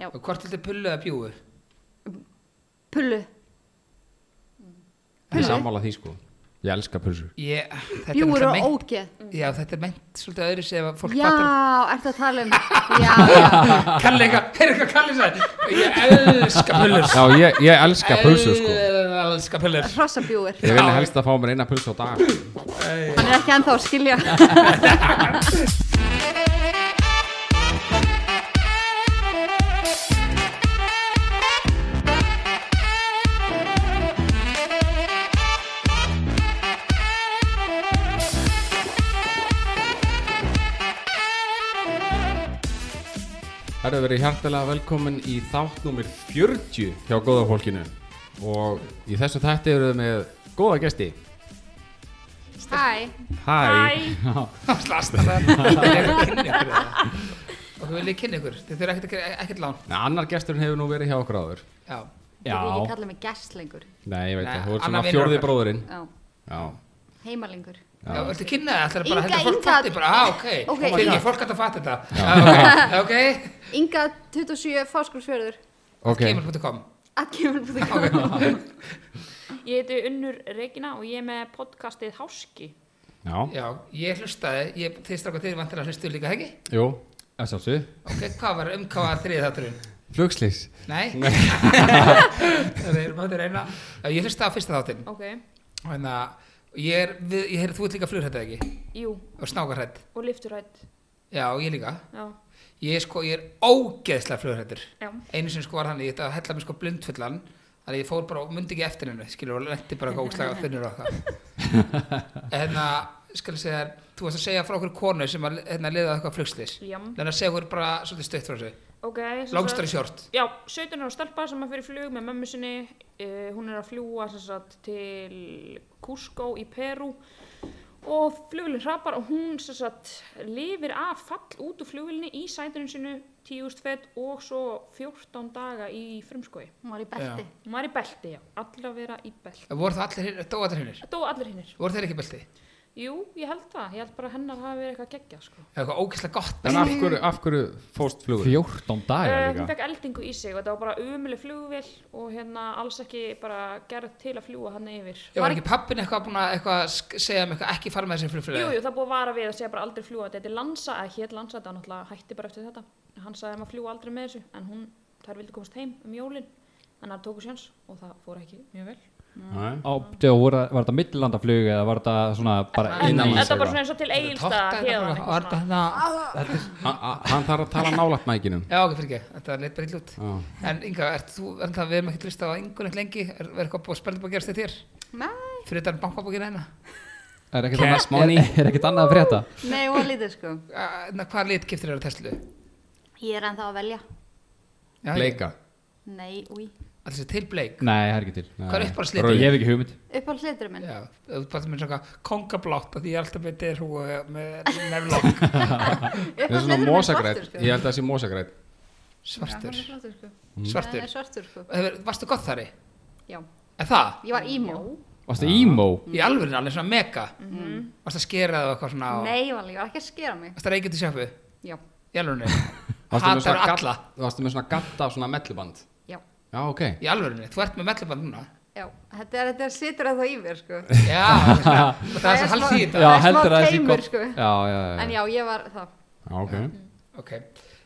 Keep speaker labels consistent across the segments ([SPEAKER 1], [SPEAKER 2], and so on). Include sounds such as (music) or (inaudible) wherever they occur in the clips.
[SPEAKER 1] Já.
[SPEAKER 2] Og hvort viltu pullu eða bjúgu?
[SPEAKER 1] Pullu
[SPEAKER 3] Ég
[SPEAKER 1] Pulsu?
[SPEAKER 3] sammála því sko Ég elska pulsur
[SPEAKER 2] Ég, þetta er
[SPEAKER 1] Bjúgur og
[SPEAKER 2] náttúrulega meint,
[SPEAKER 1] ógeð
[SPEAKER 2] já þetta er meint svolítið öðru sem að fólk
[SPEAKER 1] Já,
[SPEAKER 2] fattar
[SPEAKER 1] ertu að tala um
[SPEAKER 2] (laughs)
[SPEAKER 1] Já, já,
[SPEAKER 2] Kalli eitthvað, heyrðu hvað Kalli sagði Ég elska pullur
[SPEAKER 3] Já, ég, ég elska pulsur sko
[SPEAKER 2] Elska pullur (laughs)
[SPEAKER 1] hrossabjúgur
[SPEAKER 3] Ég vil helst að fá mér eina pulsu á dag
[SPEAKER 1] Hann er ekki ennþá að skilja
[SPEAKER 3] Það eru verið hjartalega velkomin í þátt nummer 40 hjá góða fólkinu Og í þessu þætti eru við með góða gesti
[SPEAKER 1] Hæ,
[SPEAKER 3] Hæ
[SPEAKER 2] Slasta það Og þú viljið kynna ykkur Þið þurfa ekkert, ekkert, ekkert lán
[SPEAKER 3] Nei, Annar gesturinn hefur nú verið hjá okkur áður
[SPEAKER 2] Já,
[SPEAKER 1] þú vil ekki kalla mig gest lengur
[SPEAKER 3] Nei, ég veit
[SPEAKER 2] Nei,
[SPEAKER 3] það, þú ert
[SPEAKER 2] annar
[SPEAKER 3] svona
[SPEAKER 2] vinur
[SPEAKER 3] fjórði
[SPEAKER 2] okkar.
[SPEAKER 3] bróðurinn
[SPEAKER 1] Já,
[SPEAKER 3] Já,
[SPEAKER 1] heimalingur
[SPEAKER 2] já, viltu kynna það? Það er bara
[SPEAKER 1] Inga,
[SPEAKER 2] heldur fólk
[SPEAKER 1] Inga-
[SPEAKER 2] fatti bara, á, ok,
[SPEAKER 1] Ok,
[SPEAKER 2] okay
[SPEAKER 1] já.
[SPEAKER 2] Fyrir, fólk hættu að fatta þetta Já,
[SPEAKER 1] (laughs)
[SPEAKER 2] Ok, ok,
[SPEAKER 1] Inga 27 fáskursfjörður
[SPEAKER 3] ok
[SPEAKER 2] gmail.com
[SPEAKER 1] að kemur (laughs) búið að koma
[SPEAKER 4] Ég heiti Unnur Regina og ég er með podcastið Háski.
[SPEAKER 3] Já,
[SPEAKER 2] Já, ég hlustaði, ég, þið stráka þeir vantilega hlustuðu líka, heggi?
[SPEAKER 3] jú, það sjálfsög
[SPEAKER 2] Ok, hvað var umkáða þrið þátturinn?
[SPEAKER 3] Flugslýs
[SPEAKER 2] Nei, (laughs) það er maður að reyna Já, Ég hlusta á fyrsta þáttinn
[SPEAKER 4] Ok.
[SPEAKER 2] Þannig að ég er, við, ég heyr, þú ert líka flugrætt eða ekki?
[SPEAKER 4] Jú,
[SPEAKER 2] Og snákarrætt
[SPEAKER 4] og lifturætt.
[SPEAKER 2] Já, ég líka
[SPEAKER 4] Já,
[SPEAKER 2] Ég er sko, ég er ógeðslega flugrættur
[SPEAKER 4] já.
[SPEAKER 2] Einu sem sko var þannig, ég ætti að hella mig sko blindfullan Þannig að ég fór bara og mundi ekki eftir hennu Skilur og lendi bara eitthvað ógeðslega þunnur á það En að, skal ég segja þér, Þú varst að segja frá okkur konu sem að hérna, liða eitthvað flugslis
[SPEAKER 4] Jam.
[SPEAKER 2] Þannig að segja okkur bara svolítið stutt frá þessu
[SPEAKER 4] Ok. sem sagt-
[SPEAKER 2] Longstar í short
[SPEAKER 4] Já, 17 ára stelpa sem að fyrir flug með mömmu sinni. Uh, hún er að fljúa sem sagt til Cusco í Peru og flugvillin hrapar og hún sem sagt lifir af fall út úr flugvillinni í sætunum sinu 10.000 fett og svo 14 daga í frumskói.
[SPEAKER 1] Hún var í belti
[SPEAKER 4] Hún var í belti, já. Allra vera í belti.
[SPEAKER 2] Voru það allir hinnir, dóa allir hinnir
[SPEAKER 4] Það dó allir hinnir.
[SPEAKER 2] Voru þeir ekki í belti?
[SPEAKER 4] Jú, ég held það. Ég held bara að hennar hafi verið eitthvað geggja, sko.
[SPEAKER 2] Það er eitthvað ógeðslega gott
[SPEAKER 3] En af hverju, af hverju fóst flugur?
[SPEAKER 5] 14
[SPEAKER 4] Uh,
[SPEAKER 5] dagar
[SPEAKER 4] hún
[SPEAKER 5] líka
[SPEAKER 4] fekk eldingu í sig og þetta var bara umulig flugvél og hérna alls ekki bara gerð til að fljúa hann yfir.
[SPEAKER 2] Ég var ekki pappin eitthvað búin að eitthvað sk- segja um eitthvað ekki fara með þessi
[SPEAKER 4] Jú,
[SPEAKER 2] flugfélagi
[SPEAKER 4] jú, það búið að vara við að segja bara aldrei fljúa. Þetta er Lansa, eða hér Lansa, þetta var náttúrulega hætti bara eftir þetta. Hann sagði að maður fljúa aldrei með þessu, en hún, þær vildi komast heim um jólin. En það tóku sjans og það fór ekki mjög vel.
[SPEAKER 3] Nei.
[SPEAKER 5] Á, þegar voru, var þetta millilandaflug eða var þetta svona bara
[SPEAKER 4] En
[SPEAKER 5] innan
[SPEAKER 4] þetta var svona eins og til Egilsta, hérna,
[SPEAKER 2] Var þetta hérna
[SPEAKER 3] Ha- ha- Hann þarf að tala nálægt mækinum
[SPEAKER 2] Já, ok, fyrir ekki, þetta leit bara illa út
[SPEAKER 3] Já.
[SPEAKER 2] En Inga, ert þú, en það við erum ekkert listað á Ingun eitt lengi Er verið eitthvað búið spennandi búið að gerast þetta þér?
[SPEAKER 1] Nei,
[SPEAKER 2] Fyrir þetta bankabókina hérna
[SPEAKER 5] Er ekkert
[SPEAKER 3] Cash
[SPEAKER 5] annað-
[SPEAKER 3] money.
[SPEAKER 5] er- er ekkert annað að frétta
[SPEAKER 1] nei, hún var lítið sko
[SPEAKER 2] Uh, na, Hvaða lit giftir þér á Tesla?
[SPEAKER 1] Ég er ennþá að velja
[SPEAKER 2] Já,
[SPEAKER 3] Bleika
[SPEAKER 1] Nei, úi
[SPEAKER 2] Alls er til bleik
[SPEAKER 5] Nei, það er ekki til
[SPEAKER 2] Hvað er uppáhalds litur?
[SPEAKER 5] Rauð. Ég hef ekki hugmynd
[SPEAKER 1] Uppáhalds liturinn minn
[SPEAKER 2] Já, þú ert bara með svona kongablátt af Því ég er alltaf með derhúa með nefnlokk
[SPEAKER 1] (laughs)
[SPEAKER 3] Það er
[SPEAKER 1] Uppáhalds
[SPEAKER 3] svona
[SPEAKER 1] liturinn minn er svartur,
[SPEAKER 3] mosagrætt
[SPEAKER 1] sko.
[SPEAKER 3] Ég held að það sé mosagrætt
[SPEAKER 2] Svartur,
[SPEAKER 1] Já, hann er svartur sko Hann
[SPEAKER 2] svartur
[SPEAKER 1] er svartur sko
[SPEAKER 2] Hefur- Varstu gott þari?
[SPEAKER 1] Já,
[SPEAKER 2] Er það?
[SPEAKER 1] ég var ímó
[SPEAKER 5] Varstu emo?
[SPEAKER 2] Í alvörinu alveg svona mega Varstu að skera það eitthvað svona á-
[SPEAKER 1] Nei, ég var ég var ekki að skera mig
[SPEAKER 2] Varstu að reykja út í sjoppu?
[SPEAKER 1] Já,
[SPEAKER 2] Í alvörinu?
[SPEAKER 3] Varstu með
[SPEAKER 2] Hattar
[SPEAKER 3] svona gadd-
[SPEAKER 2] alla?
[SPEAKER 3] Varstu með svona gatta og svona melluband
[SPEAKER 1] já,
[SPEAKER 3] Já, ok
[SPEAKER 2] Í alvörinu? Þú ert með melluband núna?
[SPEAKER 1] já Þetta er, þetta er situr að það í mér sko
[SPEAKER 2] Já, það er svona- það er svo haldið í
[SPEAKER 1] Já,
[SPEAKER 2] þetta.
[SPEAKER 1] það er smá
[SPEAKER 5] að það sé
[SPEAKER 1] keimur,
[SPEAKER 5] gott-
[SPEAKER 1] sko.
[SPEAKER 5] Já, já, já,
[SPEAKER 1] En já,
[SPEAKER 5] já
[SPEAKER 1] ég var það
[SPEAKER 3] Já, ok
[SPEAKER 2] Ok,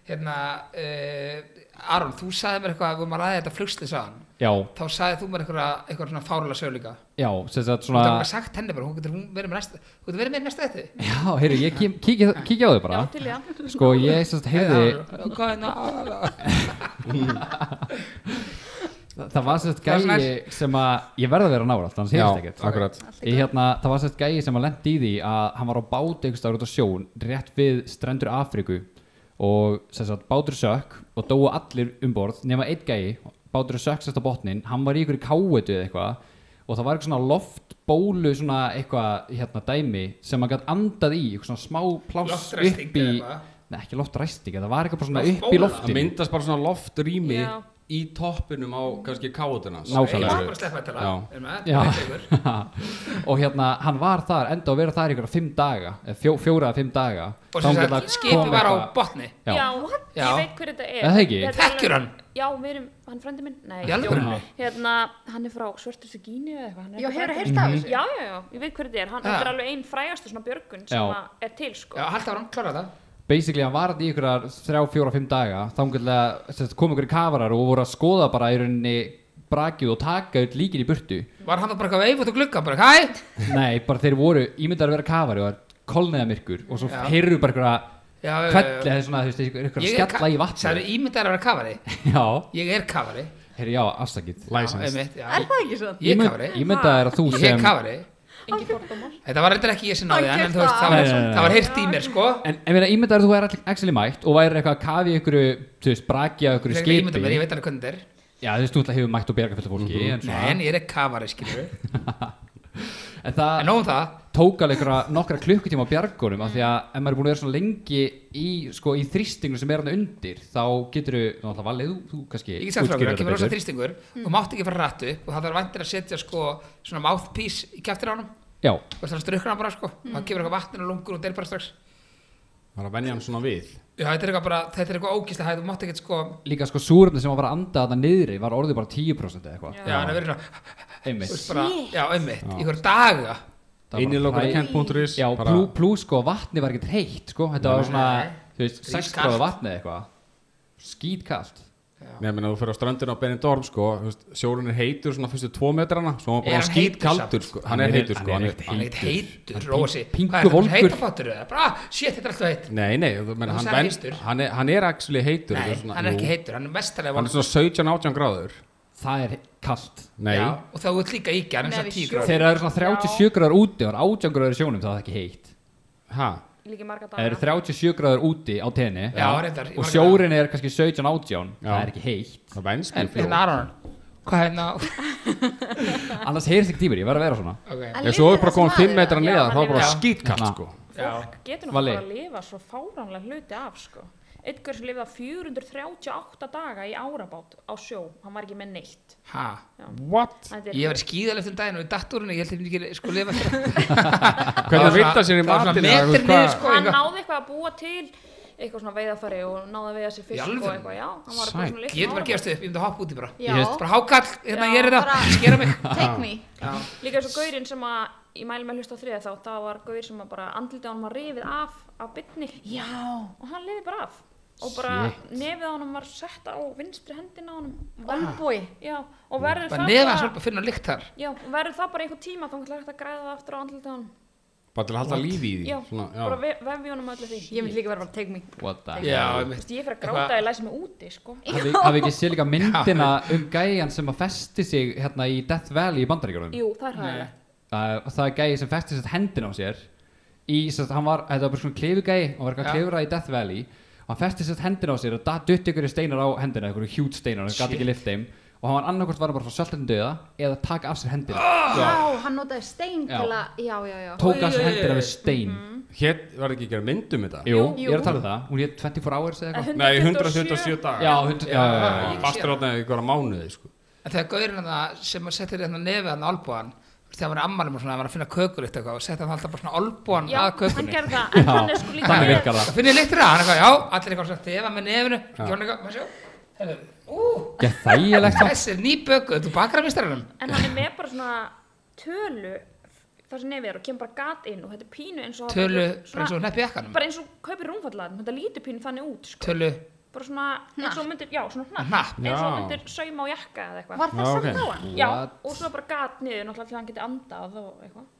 [SPEAKER 2] hérna, uh, Aron, þú sagði mér eitthvað, við maður aðeins þetta flugslið sagðan,
[SPEAKER 5] Já,
[SPEAKER 2] þá sagði þú mér eitthvað, eitthvað svona fárlega sög líka.
[SPEAKER 5] já, sem sagt
[SPEAKER 2] Þú
[SPEAKER 5] svona
[SPEAKER 2] getur bara sagt henni bara, hún getur hún verið með næsta, hún getur verið með í næsta þetta.
[SPEAKER 5] Já, heyrðu, ég kem- kíki kíki á þau bara
[SPEAKER 4] Já, til í það.
[SPEAKER 5] Sko, ég sem sagt heyrði
[SPEAKER 2] Hvað er það?
[SPEAKER 5] Það var sem sagt
[SPEAKER 2] Það er
[SPEAKER 5] gæi sem að Ég verði að vera nára, þannig
[SPEAKER 3] Já,
[SPEAKER 5] heyrðist ekkert
[SPEAKER 3] akkurat
[SPEAKER 5] Í hérna, það var sérst gæi sem að lendi í því að hann var á bát einhvers dagur út á sjón rétt við strendur Afríku og sem sagt bátur sökk og dóu allir um borð nema einn gæi, bátur sökk sérst á botnin hann var í ykkur í káetu eða eitthvað og það var eitthvað svona loftbólu svona eitthvað hérna dæmi sem hann gætt andað í, eitthvað svona smá pláss
[SPEAKER 2] Loftræsting
[SPEAKER 5] upp í,
[SPEAKER 2] eða eitthvað?
[SPEAKER 5] nei ekki loftræsting það var eitthvað bara svona upp
[SPEAKER 2] Loftbóla?
[SPEAKER 5] í
[SPEAKER 3] Það
[SPEAKER 5] loftinu
[SPEAKER 3] myndast bara svona loftrými
[SPEAKER 4] Já,
[SPEAKER 3] í toppinum á kannski káutinans
[SPEAKER 2] Ég
[SPEAKER 5] Nákvæmlega.
[SPEAKER 2] var bara að sleppa þetta lag.
[SPEAKER 3] Já.
[SPEAKER 2] Erum við
[SPEAKER 5] Já.
[SPEAKER 2] það? Þetta er ykkur.
[SPEAKER 5] og hérna, hann var þar enda að vera þar ykkur fimm daga, eða fjó, fjóra eða fimm daga
[SPEAKER 2] Og sem
[SPEAKER 5] þangað
[SPEAKER 2] sagt,
[SPEAKER 5] að
[SPEAKER 2] skipi
[SPEAKER 5] kom
[SPEAKER 2] var á
[SPEAKER 5] eitthvað-
[SPEAKER 2] botni.
[SPEAKER 5] Já.
[SPEAKER 2] Já.
[SPEAKER 4] ég veit hver þetta er
[SPEAKER 5] Er það ekki?
[SPEAKER 4] Þetta er
[SPEAKER 2] Þekkir
[SPEAKER 4] alveg-
[SPEAKER 2] hann?
[SPEAKER 4] Já, við erum, hann frændi minn Nei,
[SPEAKER 2] Í alvörunni?
[SPEAKER 4] djók. hérna, hann er frá Svörtustu Gínu eða eitthvað hann er
[SPEAKER 1] Já,
[SPEAKER 4] eitthvað
[SPEAKER 1] hefur
[SPEAKER 4] frændi.
[SPEAKER 1] heilt af
[SPEAKER 2] Mhm.
[SPEAKER 1] þessu?
[SPEAKER 4] Já, já, já, ég veit hver þetta er Hann
[SPEAKER 2] Ja.
[SPEAKER 4] þetta er alveg einn frægastu svona björgun sem
[SPEAKER 5] Já.
[SPEAKER 4] að er til, sko
[SPEAKER 2] Ah. Já, halda var hann klára það.
[SPEAKER 5] basically hann var þarna í ykkur þrjá, fjóra, fimm daga þangað að kom ykkur kafarar og voru að skoða bara í rauninni brakið og taka ut líkin í burtu
[SPEAKER 2] (laughs) Var hann þá bara eitthvað veif út og glugga, bara hæ,
[SPEAKER 5] nei, bara þeir voru, ímyndar að vera kafari og það kolniða myrkur og svo
[SPEAKER 2] Já.
[SPEAKER 5] heyrðu bara ykkur að
[SPEAKER 2] Já, já, já, já.
[SPEAKER 5] kvelli eða svona, þú veist, ykkur- ykkur að skella í
[SPEAKER 2] Sæður,
[SPEAKER 5] vatni
[SPEAKER 2] ímyndar að vera kafari.
[SPEAKER 5] (laughs) já,
[SPEAKER 2] Ég er kafari.
[SPEAKER 5] heyrðu, já, afsakið
[SPEAKER 2] Já,
[SPEAKER 3] License
[SPEAKER 2] einmitt, já.
[SPEAKER 1] Er það ekki svona?
[SPEAKER 2] Ég er
[SPEAKER 5] Ímynd-
[SPEAKER 2] kafari.
[SPEAKER 5] ímyndaðu þér að þú
[SPEAKER 2] Ég er
[SPEAKER 5] sem
[SPEAKER 2] kafari.
[SPEAKER 4] Engi fordómar
[SPEAKER 2] Þetta var eitthvað ekki ég sem náði hann,
[SPEAKER 1] Hann
[SPEAKER 2] en
[SPEAKER 1] gekk
[SPEAKER 2] þú veist, það
[SPEAKER 1] það.
[SPEAKER 2] var,
[SPEAKER 5] Nei, nei, nei.
[SPEAKER 2] það var heyrt í mér, sko.
[SPEAKER 5] En ég meina, ímyndaður þú er actually mætt og væri eitthvað að kafi ykkur, þú veist, brakja ykkur
[SPEAKER 2] Ég
[SPEAKER 5] skipi.
[SPEAKER 2] ímynda mér, ég veit alveg hvernig þetta er.
[SPEAKER 5] Já, þú veist, þú ætla hefur mætt og bjarga fullt af fólki, en
[SPEAKER 2] Nei,
[SPEAKER 5] svona.
[SPEAKER 2] en ég er kafari, skilur við.
[SPEAKER 5] En það
[SPEAKER 2] En nóg um það,
[SPEAKER 5] tók alveg ykkur nokkra klukkutíma á bjargunum af því að ef maður er búin að vera svona lengi í, sko, í þrýstingu sem er hann undir, þá getur þú, náttúrulega valið, þú, þú kannski
[SPEAKER 2] ég get sagt frá mér, það kemur rosa
[SPEAKER 5] betur.
[SPEAKER 2] þrýstingur
[SPEAKER 1] Mm.
[SPEAKER 2] og mátt ekki fara rættu og það þarf vantir að setja, sko, svona mouthpiece í kæftir á honum
[SPEAKER 5] Já,
[SPEAKER 2] og þannig strukkur hann bara, sko.
[SPEAKER 1] Mm.
[SPEAKER 2] Og það kemur eitthvað vatnir og lungur og deyr bara strax.
[SPEAKER 3] var að venja hann svona við
[SPEAKER 2] Já, þetta er eitthvað bara, þetta er eitthvað ógíslega hæð, þú mátt ekki, sko,
[SPEAKER 5] líka sko súröfni sem var bara að anda þarna niðri var orðið bara 10% eða eitthvað.
[SPEAKER 2] já, hann er verið svona, þú veist
[SPEAKER 5] Einmitt.
[SPEAKER 2] bara, já, einmitt, í hverju daga.
[SPEAKER 5] Það var bara hræ-
[SPEAKER 3] innilokkunarkent.is
[SPEAKER 5] Já, plú, plú sko, vatni var ekkert heitt sko, þetta var svona, þú veist, 6
[SPEAKER 2] Ískalt.
[SPEAKER 5] gráða vatni eða eitthvað, skýtkalt.
[SPEAKER 3] Nei, menn, þú fyrir á ströndinu á Benidorm, sko, þú veist, sjórun er heitur svona fyrstu tvo metrana, svo hann
[SPEAKER 2] Er
[SPEAKER 3] bara
[SPEAKER 2] hann
[SPEAKER 3] skýt
[SPEAKER 2] heitur
[SPEAKER 3] kaldur, sko, hann er heitur, sko,
[SPEAKER 5] hann er
[SPEAKER 2] Hann er eitthvað heitur,
[SPEAKER 5] Hann
[SPEAKER 2] rósi.
[SPEAKER 5] pink-
[SPEAKER 2] Hvað er
[SPEAKER 5] pinkur
[SPEAKER 2] þetta,
[SPEAKER 5] volgur.
[SPEAKER 2] heitafattur eða? Bara, ah, shit, þetta er alltaf heitt.
[SPEAKER 3] Nei, nei, þú menn,
[SPEAKER 2] Þú
[SPEAKER 3] hann,
[SPEAKER 2] sagði
[SPEAKER 3] ben,
[SPEAKER 2] heitur.
[SPEAKER 3] hann, er, hann er actually heitur
[SPEAKER 2] Nei,
[SPEAKER 3] þetta svona-
[SPEAKER 2] hann er ekki
[SPEAKER 3] jú,
[SPEAKER 2] heitur, hann er mestalega
[SPEAKER 3] Hann er svona 17-18 gráður
[SPEAKER 5] Það er kalt.
[SPEAKER 3] Nei,
[SPEAKER 2] Já, og þá ert líka íkja, hann er svona
[SPEAKER 1] Nei, við
[SPEAKER 2] 10
[SPEAKER 1] sjó.
[SPEAKER 2] gráður.
[SPEAKER 5] Þegar það eru svona 37 gráður úti og það er 18 gráður í sjónum þá er það ekki heitt.
[SPEAKER 3] ha,
[SPEAKER 4] Líki marga
[SPEAKER 5] Það eru
[SPEAKER 4] daga
[SPEAKER 5] 37 gráður úti á tenni
[SPEAKER 2] Já, reyndar, ég
[SPEAKER 5] og
[SPEAKER 2] var ekki að-
[SPEAKER 5] sjórin er kannski 17-18,
[SPEAKER 3] Já.
[SPEAKER 5] það er ekki heitt.
[SPEAKER 3] það venst
[SPEAKER 2] En
[SPEAKER 3] mjög
[SPEAKER 2] hérna
[SPEAKER 3] fljóð
[SPEAKER 2] Aron, hvað hérna,
[SPEAKER 5] Annars heyrst ekki tímur, ég verð að vera svona.
[SPEAKER 2] (laughs) ok,
[SPEAKER 3] Ef svo er bara komið 5 metra
[SPEAKER 4] Já,
[SPEAKER 3] neðar,
[SPEAKER 4] hann
[SPEAKER 3] þá
[SPEAKER 4] er-
[SPEAKER 3] er bara
[SPEAKER 2] Já.
[SPEAKER 3] skýt kalt,
[SPEAKER 5] Já.
[SPEAKER 3] sko
[SPEAKER 2] já.
[SPEAKER 4] Getur
[SPEAKER 5] Valli.
[SPEAKER 4] náttúrulega að lifa svo fáránlega hluti af, sko Edgar sem lifaði 438 daga í árabát á sjó Hann var ekki með neitt
[SPEAKER 2] Ha,
[SPEAKER 3] What?
[SPEAKER 4] Þetta er-
[SPEAKER 2] ég var skýðalegt um daginn og í dattúrinu, ég held ég ekki sko lifa eftir það.
[SPEAKER 3] Hvernig að vita sér í
[SPEAKER 2] Það var svona metri
[SPEAKER 3] matinu eða, þú veist,
[SPEAKER 2] niður,
[SPEAKER 3] hvað-
[SPEAKER 2] sko.
[SPEAKER 4] hann
[SPEAKER 2] eitthvað.
[SPEAKER 4] náði eitthvað að búa til eitthvað svona veiðarfæri og náði að veiða sér
[SPEAKER 2] Í
[SPEAKER 4] fisk
[SPEAKER 2] alvöru?
[SPEAKER 4] og eitthvað, já, hann var bara
[SPEAKER 3] Sæt.
[SPEAKER 4] svona litla
[SPEAKER 2] Ég vil bara
[SPEAKER 4] ára.
[SPEAKER 2] gefast upp, ég myndi að hoppa út í bara.
[SPEAKER 1] Já.
[SPEAKER 5] Ég veist
[SPEAKER 2] Bara hákall, hérna
[SPEAKER 4] Já,
[SPEAKER 2] ég er þetta,
[SPEAKER 1] bara-
[SPEAKER 2] skera
[SPEAKER 1] (laughs)
[SPEAKER 2] mig.
[SPEAKER 1] Take me.
[SPEAKER 2] Já,
[SPEAKER 4] líka eins og gaurinn sem að ég mæli með hlusta á þriða þá, það var gaur sem að bara andliti á hann var rifið af af bytni
[SPEAKER 1] Já.
[SPEAKER 4] og hann lifið bara af og bara
[SPEAKER 5] Shit.
[SPEAKER 4] nefið á hann var sett á vinstri hendina á
[SPEAKER 1] Ah.
[SPEAKER 4] hann
[SPEAKER 1] Olbúi.
[SPEAKER 4] já, og verður
[SPEAKER 2] bara
[SPEAKER 4] það
[SPEAKER 2] nefa
[SPEAKER 4] bara-
[SPEAKER 2] hans bara finna lykt þar.
[SPEAKER 4] já, og verður það bara einhver tíma þá hann hægt að græða það aftur á andliti á hann
[SPEAKER 3] Bara til að halda lífi í
[SPEAKER 4] já,
[SPEAKER 3] því svona,
[SPEAKER 4] bara
[SPEAKER 3] já.
[SPEAKER 4] ve- vefja honum öllu því
[SPEAKER 1] Ég myndi líka vera bara take me.
[SPEAKER 5] What the...
[SPEAKER 2] Já, ég
[SPEAKER 4] Þú veist,
[SPEAKER 2] myndi.
[SPEAKER 4] ég fyrir að gráta, ég læsi mig úti sko.
[SPEAKER 5] Hafi, hafi ekki séð líka myndina um gæjan sem að festi sig hérna í Death Valley í bandaríkjörnum?
[SPEAKER 4] jú, það er hægilegt
[SPEAKER 5] Það, það er gæji sem festi sér hendin á sér í, sérst, hann var, þetta var bara svona klefugæji, hann var eitthvað
[SPEAKER 2] Já.
[SPEAKER 5] klefurað í Death Valley og hann festi sér hendin á sér og það dutt ykkur steinar á hendina, ykkur hjút steinar, hann gæti ekki lift þeim og hann var annarkvort var hann bara frá söltan döða eða taka af sér hendina,
[SPEAKER 1] Ah, Já, hann notaði stein
[SPEAKER 5] Já.
[SPEAKER 1] til að, já, já, já.
[SPEAKER 5] tók af sér hendina við stein
[SPEAKER 3] Hér var ekki að gera mynd um þetta
[SPEAKER 5] Jú,
[SPEAKER 1] Jú.
[SPEAKER 5] ég er að tala um það, hún hétt 24 hours eða eitthvað
[SPEAKER 3] Nei, 127 dagar Eh,
[SPEAKER 5] Já, hund, já, já, já, já.
[SPEAKER 2] Ég-
[SPEAKER 3] Fastur átna í hverja mánuði, sko
[SPEAKER 2] En þegar gaurinn hann sem að setja hérna nefið hann á albúan, þegar hann var ammanum og svona, hann var að finna kökur eitt eitthvað og setja hann alltaf bara svona albúan að
[SPEAKER 4] já, hann
[SPEAKER 2] kökunni.
[SPEAKER 4] gerði það en
[SPEAKER 5] Já,
[SPEAKER 4] hann er sko líka
[SPEAKER 5] þannig
[SPEAKER 4] með-
[SPEAKER 5] virkar það
[SPEAKER 2] Það finnir lyktir að hann eitthvað, já, allir eitthvað svona þefa með nefinu, ekki hann eitthvað, maður sjá, hérna, ú,
[SPEAKER 5] Gerð þægilegt samt.
[SPEAKER 2] þessi er nýbökuð, þú bakar að mistarunum.
[SPEAKER 4] en hann er með bara svona tölu þar sem nefið er og kemur bara gat inn og þetta er pínu eins og
[SPEAKER 2] Tölu, bara
[SPEAKER 4] svona,
[SPEAKER 2] eins og neppi ekkanum,
[SPEAKER 4] bara eins og kaupir rúmfallaðin þetta lítur pínu þannig út sko.
[SPEAKER 2] tölu,
[SPEAKER 4] bara svona eins og myndir, já svona
[SPEAKER 2] Hnapp.
[SPEAKER 4] hnapp eins og
[SPEAKER 3] Já.
[SPEAKER 4] myndir sauma á jakka eða eitthvað
[SPEAKER 1] Var það
[SPEAKER 3] Já,
[SPEAKER 1] samt
[SPEAKER 3] ok.
[SPEAKER 1] á hann?
[SPEAKER 4] já,
[SPEAKER 5] What?
[SPEAKER 4] og svo bara gat niður náttúrulega til hann geti andað og eitthvað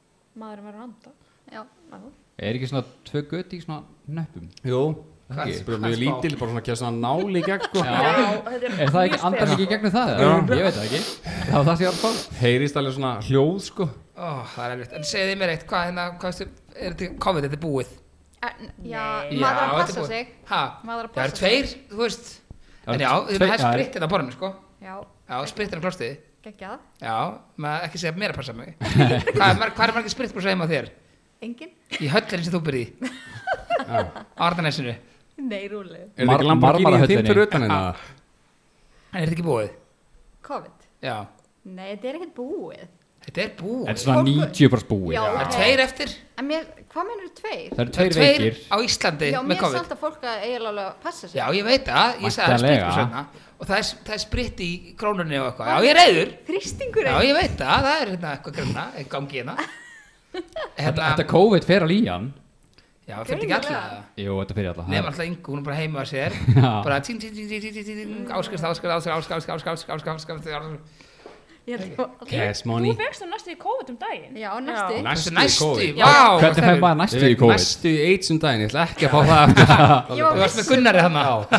[SPEAKER 4] maðurinn verður að anda
[SPEAKER 1] Já.
[SPEAKER 4] Annað.
[SPEAKER 5] Er ekki svona tvö gött í svona nöppum?
[SPEAKER 3] Jú
[SPEAKER 5] Hvað-
[SPEAKER 3] Bara mjög lítil, bara svona að gera svona náli í gegn, sko
[SPEAKER 5] Já.
[SPEAKER 4] Já, og þetta
[SPEAKER 5] Er það ekki,
[SPEAKER 4] mjög
[SPEAKER 5] andar
[SPEAKER 4] spes.
[SPEAKER 5] ekki í gegnum það? eða? Ég veit það ekki Það var það sem ég var að fá
[SPEAKER 3] Heyrist alveg svona hljóð, sko
[SPEAKER 2] ó, það er erfitt, en segið þið mér eitt, hvað, hérna, hvað veistu, er þetta, COVID, þetta er búið?
[SPEAKER 1] En, já, maður
[SPEAKER 4] Nei.
[SPEAKER 2] Já,
[SPEAKER 1] að
[SPEAKER 2] þetta er
[SPEAKER 1] passa
[SPEAKER 2] búið.
[SPEAKER 1] sig.
[SPEAKER 2] Ha,
[SPEAKER 1] Maður að
[SPEAKER 2] það eru
[SPEAKER 1] passa sig.
[SPEAKER 2] tveir, þú veist,
[SPEAKER 5] Það
[SPEAKER 2] en
[SPEAKER 5] eru
[SPEAKER 2] já, þið
[SPEAKER 5] tveir-
[SPEAKER 2] með hægt
[SPEAKER 5] já,
[SPEAKER 2] sprittið á borðinu, sko,
[SPEAKER 1] Já,
[SPEAKER 2] já, sprittið á klostið,
[SPEAKER 1] geggjað.
[SPEAKER 2] já, maður ekki segja mér að passa mig, (laughs) hvað er, mar- hvað er margir sprittbrús heima á þér?
[SPEAKER 1] Engin?
[SPEAKER 2] Í höllinni sem þú byrði í, á Arnarnesinu,
[SPEAKER 1] Nei, rúlega.
[SPEAKER 3] Er þetta
[SPEAKER 5] Mar-
[SPEAKER 3] ekki Lamborghini
[SPEAKER 5] Marmarahöllinni.
[SPEAKER 3] þinn fyrir utan hérna?
[SPEAKER 2] En er þetta ekki búið?
[SPEAKER 1] COVID.
[SPEAKER 2] Já,
[SPEAKER 1] Nei, þetta er ekkert búið.
[SPEAKER 2] þetta er búið
[SPEAKER 5] Þetta er svona
[SPEAKER 1] Fólk-
[SPEAKER 5] 90 bara búið
[SPEAKER 1] Já.
[SPEAKER 2] Það er tveir eftir
[SPEAKER 1] En mér, hvað mennur tveir?
[SPEAKER 5] Það eru tveir,
[SPEAKER 2] tveir
[SPEAKER 5] veikir
[SPEAKER 2] á Íslandi
[SPEAKER 1] Já,
[SPEAKER 2] með
[SPEAKER 1] mér er
[SPEAKER 2] COVID
[SPEAKER 1] samt að fólk að eiginlega alveg að passa sig.
[SPEAKER 2] Já, ég veit það, ég sagði það
[SPEAKER 5] Væntanlega.
[SPEAKER 2] spritt svona og það er, það er spritt í krónunni og eitthvað Já, ég er reyður
[SPEAKER 1] Þrýstingur
[SPEAKER 2] Já, ég veit það, það er hérna eitthvað grunna gangi hérna
[SPEAKER 5] Þetta,
[SPEAKER 2] Hérna,
[SPEAKER 5] þetta COVID fer alveg í hann
[SPEAKER 2] já, fyrir ekki alla
[SPEAKER 1] Greinilega.
[SPEAKER 5] Jú, þetta fer í alla
[SPEAKER 2] Nefn alltaf yngu, hún er bara heima að sér
[SPEAKER 5] (laughs) Já.
[SPEAKER 2] bara tín, tín, tín, tín, tín, tín, tín áskrift, áskrift, áskrift, áskrift, áskrift, áskrift, áskrift, áskrift
[SPEAKER 1] Ég held að-
[SPEAKER 3] Cash
[SPEAKER 4] Þú
[SPEAKER 3] money
[SPEAKER 4] fegst þú næstu í COVID um daginn.
[SPEAKER 1] Já, næstu.
[SPEAKER 3] Já. Næstu í
[SPEAKER 2] Næstu,
[SPEAKER 3] COVID.
[SPEAKER 2] vá
[SPEAKER 5] Hvernig fær
[SPEAKER 3] Ég
[SPEAKER 5] maður næstu í
[SPEAKER 3] veit
[SPEAKER 5] COVID?
[SPEAKER 3] Næstu í AIDS um daginn, ég ætla ekki að fá það
[SPEAKER 1] Ég
[SPEAKER 3] aftur
[SPEAKER 1] var um
[SPEAKER 2] Þú varst með Gunnari hann (laughs) Það
[SPEAKER 1] Ég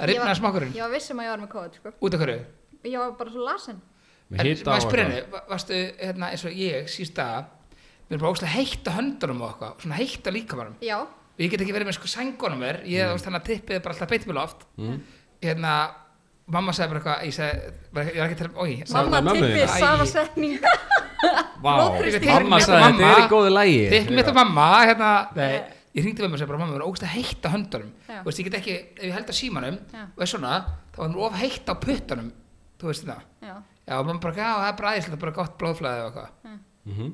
[SPEAKER 1] var-
[SPEAKER 2] rifnaði smokkurinn
[SPEAKER 1] Ég var vissum að ég var með COVID, sko.
[SPEAKER 2] Út af hverju?
[SPEAKER 1] Ég var bara svo lasin.
[SPEAKER 3] Með
[SPEAKER 2] En
[SPEAKER 3] hita
[SPEAKER 2] maður
[SPEAKER 3] og
[SPEAKER 2] spyrir
[SPEAKER 3] eitthvað.
[SPEAKER 2] henni, va- varstu hérna eins og ég síðust daga Mér er bara óslega heitt á höndunum og eitthvað og Svona heitt á líkamanum
[SPEAKER 1] Já,
[SPEAKER 2] Og Ég get ekki verið með sko sængunum mér Ég mm. þannig að tippið er bara alltaf beitt mér loft
[SPEAKER 5] Mm.
[SPEAKER 2] Hérna, mamma sagði bara eitthvað Ég sagði, bara, ég var ekki að tala, um- oi
[SPEAKER 3] Sagði
[SPEAKER 1] mamma
[SPEAKER 3] það mömmu
[SPEAKER 1] tippið
[SPEAKER 3] þína?
[SPEAKER 1] sama
[SPEAKER 2] (laughs)
[SPEAKER 1] setning.
[SPEAKER 3] Vá,
[SPEAKER 1] Blóðþrýstingur.
[SPEAKER 3] mamma sagði
[SPEAKER 2] Mamma-
[SPEAKER 3] þetta er í góðu lægi
[SPEAKER 2] Þykk mitt og mamma, hérna, nei, ég hringdi með mér og sagði bara, mamma, mér er ógæslega heitt á höndunum.
[SPEAKER 1] Já.
[SPEAKER 2] Þú veist, ég get ekki, ef ég held á símanum,
[SPEAKER 1] Já.
[SPEAKER 2] og er svona, þá var mér of heitt á puttunum, þú veist það.
[SPEAKER 1] Já,
[SPEAKER 2] Já, og mamma bara, já, það er bara aðeins, það er bara gott blóðflæði og eitthvað.
[SPEAKER 3] Mhm.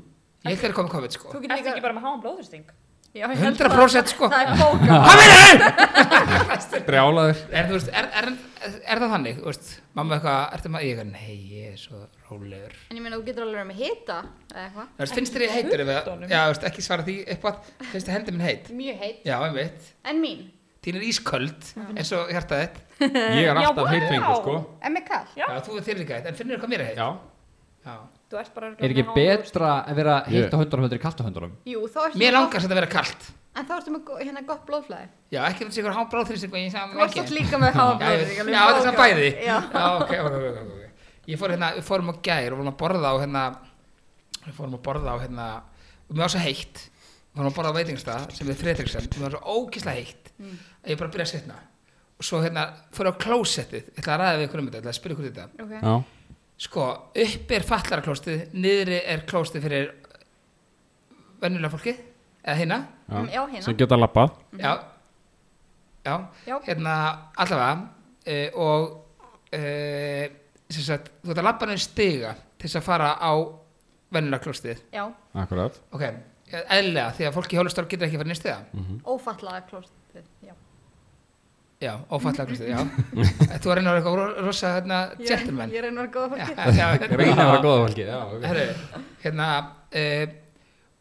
[SPEAKER 2] Ég held að það er komið COVID, sko.
[SPEAKER 1] þú
[SPEAKER 4] Ertu
[SPEAKER 1] getur líka...
[SPEAKER 4] ekki bara með háan blóðhristing?
[SPEAKER 1] Já, ég held bara-
[SPEAKER 2] 100% sko.
[SPEAKER 1] Það
[SPEAKER 2] (laughs)
[SPEAKER 1] er bókað.
[SPEAKER 2] Hvað meina þau?
[SPEAKER 3] Brjálaður
[SPEAKER 2] Er, þú veist, er, er, er það þannig, þú veist, mamma eitthvað, ertu maður, ég eitthvað, nei, ég er svo rólegur.
[SPEAKER 1] En ég meina, þú getur alveg verið með hita, eða eitthvað.
[SPEAKER 2] Þú veist, finnst þér ég heitur ef að,
[SPEAKER 4] puttunum?
[SPEAKER 2] já, þú veist, ekki svara því eitthvað, finnst þér hendi minn heit?
[SPEAKER 1] Mjög heit.
[SPEAKER 2] Já, einmitt.
[SPEAKER 1] En mín.
[SPEAKER 2] Þín er ísköld, eins og hjartað þitt.
[SPEAKER 3] Ég er
[SPEAKER 4] Eh, Já,
[SPEAKER 3] alltaf
[SPEAKER 4] vá.
[SPEAKER 3] heitfengur sko
[SPEAKER 1] En mér kall.
[SPEAKER 4] Já.
[SPEAKER 2] Já, þú er þér líka heitt, en finnur hvað mér er heitt?
[SPEAKER 3] Já,
[SPEAKER 2] Já.
[SPEAKER 4] Þú ert bara...
[SPEAKER 5] Er ekki
[SPEAKER 4] með háan blóðþrýsting.
[SPEAKER 5] betra að vera
[SPEAKER 3] Ég-
[SPEAKER 5] heitt á höndunum heldur í kalt á höndunum?
[SPEAKER 1] Jú, þá ertu
[SPEAKER 2] Mér
[SPEAKER 1] með
[SPEAKER 2] langar sem þetta að vera kalt.
[SPEAKER 1] gott- En þá ertu með go- hérna gott blóðflæði.
[SPEAKER 2] Já, ekki fyrir sigur hán bráðþrýsting og ég sagði
[SPEAKER 1] Þú varst
[SPEAKER 2] mikið.
[SPEAKER 1] alltaf líka með háa
[SPEAKER 2] Já, ég veit-
[SPEAKER 1] blóðflæði.
[SPEAKER 2] já, þetta er svona bæði.
[SPEAKER 1] Já.
[SPEAKER 2] ok, ok, ok, ok, ok. Ég fór hérna, við fórum á gær og vorum að borða á hérna, við fórum að borða á hérna, og mér var svo heitt, við fórum að borða á veitingstað sem við þreytriksend, mér var svo ógislega heitt,
[SPEAKER 1] Mm.
[SPEAKER 2] að ég bara byrja að setna. Og svo hérna, fórum á klósettið, ég ætla að ræða við ykkur um þetta, ég ætla að spyrja ykkur út í þetta.
[SPEAKER 1] Ok.
[SPEAKER 3] já
[SPEAKER 2] Sko, upp er fallaraklóstið, niðri er klóstið fyrir vennulega fólkið, eða hinna,
[SPEAKER 1] Mm, Já, hérna.
[SPEAKER 3] Sem geta lappað
[SPEAKER 2] já, já,
[SPEAKER 1] Já.
[SPEAKER 2] hérna allavega uh, og uh, sem sagt, þú ert að labba niður stiga til þess að fara á vennuleglóstið,
[SPEAKER 1] Já,
[SPEAKER 3] Akkurat
[SPEAKER 2] ok, e, eðlilega því að fólk í hjólustarf getur ekki að fara niður stiga
[SPEAKER 1] ófallaða klóstið. Já.
[SPEAKER 2] já, ófallaglóstið, já þú er reyna að vera eitthvað ro- rosa hérna,
[SPEAKER 1] Ég-
[SPEAKER 2] gentleman
[SPEAKER 1] Ég reynir að vera góða
[SPEAKER 2] Já,
[SPEAKER 1] fólki.
[SPEAKER 2] já, hérna,
[SPEAKER 3] Ég reyna að vera góða fólki Já, ok
[SPEAKER 2] Herru, hérna uh,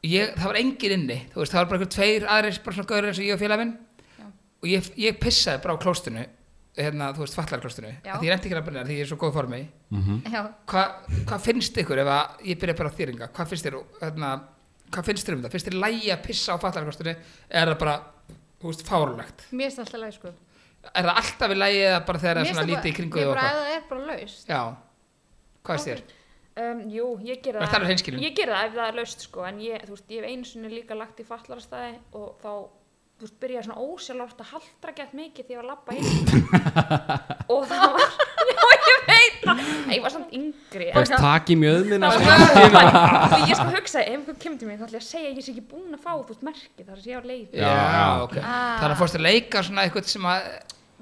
[SPEAKER 2] ég, það var engin inni þú veist, það var bara einhver tveir aðrir bara svona gaurið eins og ég og félag minn
[SPEAKER 1] Já.
[SPEAKER 2] og ég, ég pissaði bara á klóstinu hérna, þú veist, fallarklóstinu
[SPEAKER 1] Já.
[SPEAKER 2] því ég reyndi ekki að brenna því ég er svo góð formi
[SPEAKER 1] Já.
[SPEAKER 2] Hva, hvað finnst ykkur ef að ég byrja bara á þýringa hvað finnst þér, hérna, hvað finnst þér um það finnst þér lægi að pissa á fallarklóstinu er það bara, þú veist, fárlegt
[SPEAKER 1] Mér finnst alltaf leið, sko.
[SPEAKER 2] er það alltaf í lægi eða bara þegar það
[SPEAKER 1] Mér
[SPEAKER 2] er
[SPEAKER 1] finnst
[SPEAKER 2] svona
[SPEAKER 1] bara-
[SPEAKER 2] lítið í kringu
[SPEAKER 1] Ég
[SPEAKER 2] þig og
[SPEAKER 1] bara, ef
[SPEAKER 2] eitthvað?
[SPEAKER 1] það er bara laust.
[SPEAKER 2] já, hvað finnst þér?
[SPEAKER 4] Um, jú, ég gera
[SPEAKER 2] Vertu alveg hreinskilin.
[SPEAKER 4] Ég gera það ef það er laust sko, en ég, þú veist, ég hef einu sinni líka lagt í fallarastæði og þá, þú veist, byrjaði svona ósjálfort að haldra gett mikið því ég var að labba heim.
[SPEAKER 2] (laughs)
[SPEAKER 4] og það var, (laughs) já, ég veit það. Nei, Ég var samt yngri. en-
[SPEAKER 3] Best takk í mjöðmina sko.
[SPEAKER 4] Því ég sko hugsaði, ef einhver kemur til mér, þá ætla ég að segja að ég sé ekki búin að fá, þú veist, merkið, þar er ég á leið.
[SPEAKER 2] Já,
[SPEAKER 3] já.
[SPEAKER 2] ok. Ah. Þannig að fórstu að leika svona eitthvað sem að...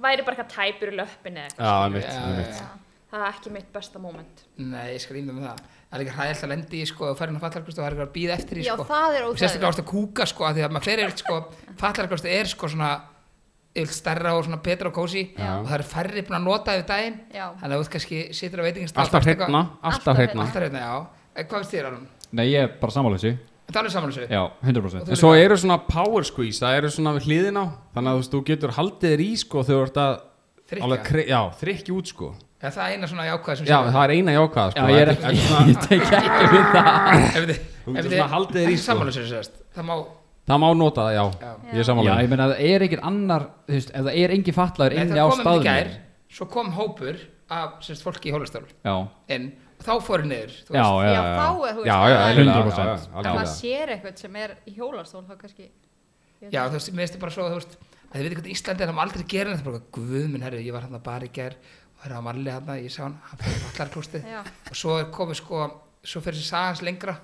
[SPEAKER 4] Væri bara eitthvað tæpur í löppinni, eða eitthvað.
[SPEAKER 3] Já, einmitt,
[SPEAKER 2] Já,
[SPEAKER 3] einmitt
[SPEAKER 2] já.
[SPEAKER 4] það er ekki mitt besta moment.
[SPEAKER 2] Nei, ég skal ímynda með það. Það er líka hræðilt að lendi í sko og fara inn á fallarkostu og það er eitthvað að býða eftir í
[SPEAKER 1] Já,
[SPEAKER 2] sko.
[SPEAKER 1] það er
[SPEAKER 2] Og sérstaklega
[SPEAKER 1] óþægilegt.
[SPEAKER 2] ást að kúka sko að því að maður fer yfir sko, fallarkostu er sko svona yfir stærra og svona betra og kósi
[SPEAKER 3] Já.
[SPEAKER 2] og það eru færri búin að nota yfir daginn.
[SPEAKER 1] Já.
[SPEAKER 2] Þannig að þú kannski situr á veitingin
[SPEAKER 3] Alltaf hreitna, alltaf
[SPEAKER 1] Alltaf
[SPEAKER 3] hreitna
[SPEAKER 2] Alltaf hreitna, já. En hvað finnst þér, Aron?
[SPEAKER 5] Nei, ég er bara samanleysi
[SPEAKER 2] Það er alveg samanlýsu.
[SPEAKER 5] Já, 100%
[SPEAKER 3] En svo eru svona power squeeze, það eru svona við hliðin á Þannig að þú veist, þú getur haldið þér í sko þegar þú ert að
[SPEAKER 2] Þrykkja.
[SPEAKER 3] alveg kre- Já, þrykki út sko
[SPEAKER 2] Já, það er eina svona jákvæð sem
[SPEAKER 3] Já, það er eina jákvæða
[SPEAKER 5] Já,
[SPEAKER 3] sko
[SPEAKER 5] ég er
[SPEAKER 3] Þetta
[SPEAKER 5] ekki,
[SPEAKER 3] svona-
[SPEAKER 5] (laughs) ég tek ekki við það
[SPEAKER 2] Ef þið,
[SPEAKER 3] Þú
[SPEAKER 2] ef
[SPEAKER 3] getur
[SPEAKER 2] þið,
[SPEAKER 3] svona haldið þér í,
[SPEAKER 2] ekki
[SPEAKER 3] sko.
[SPEAKER 2] samanlýsu, sérst. Það má,
[SPEAKER 3] Það má nota það, já, ég er
[SPEAKER 5] Já,
[SPEAKER 3] samanlega
[SPEAKER 5] ég meina, það er engin annar, þú veist, ef það er engin fatlaður
[SPEAKER 2] Nei,
[SPEAKER 5] inni á
[SPEAKER 2] það komum um í
[SPEAKER 5] staðnum
[SPEAKER 2] gær, svo kom hópur af sérst, fólki í hólastörl
[SPEAKER 5] Já,
[SPEAKER 2] en þá fóru niður þú
[SPEAKER 5] já,
[SPEAKER 2] veist.
[SPEAKER 1] Já,
[SPEAKER 5] já, já.
[SPEAKER 1] þá er, þú veist,
[SPEAKER 3] Já, já,
[SPEAKER 1] það er-
[SPEAKER 5] eðlilega.
[SPEAKER 3] algjörlega, já, já,
[SPEAKER 5] 100%.
[SPEAKER 1] Ef maður
[SPEAKER 3] algjörlega.
[SPEAKER 1] sér eitthvað sem er í hjólastól, þá kannski...
[SPEAKER 2] já, þú veist, mér finnst þetta bara svo þú veist, að þið veitir hvernig Íslandi er það má aldrei gera þetta bara, guð minn herri, ég var hann bara í gær og hérna var Marli hann, ég sá hann hann fyrir allar klústi
[SPEAKER 1] Já.
[SPEAKER 2] og svo er komið sko, svo fyrir sér sagans lengra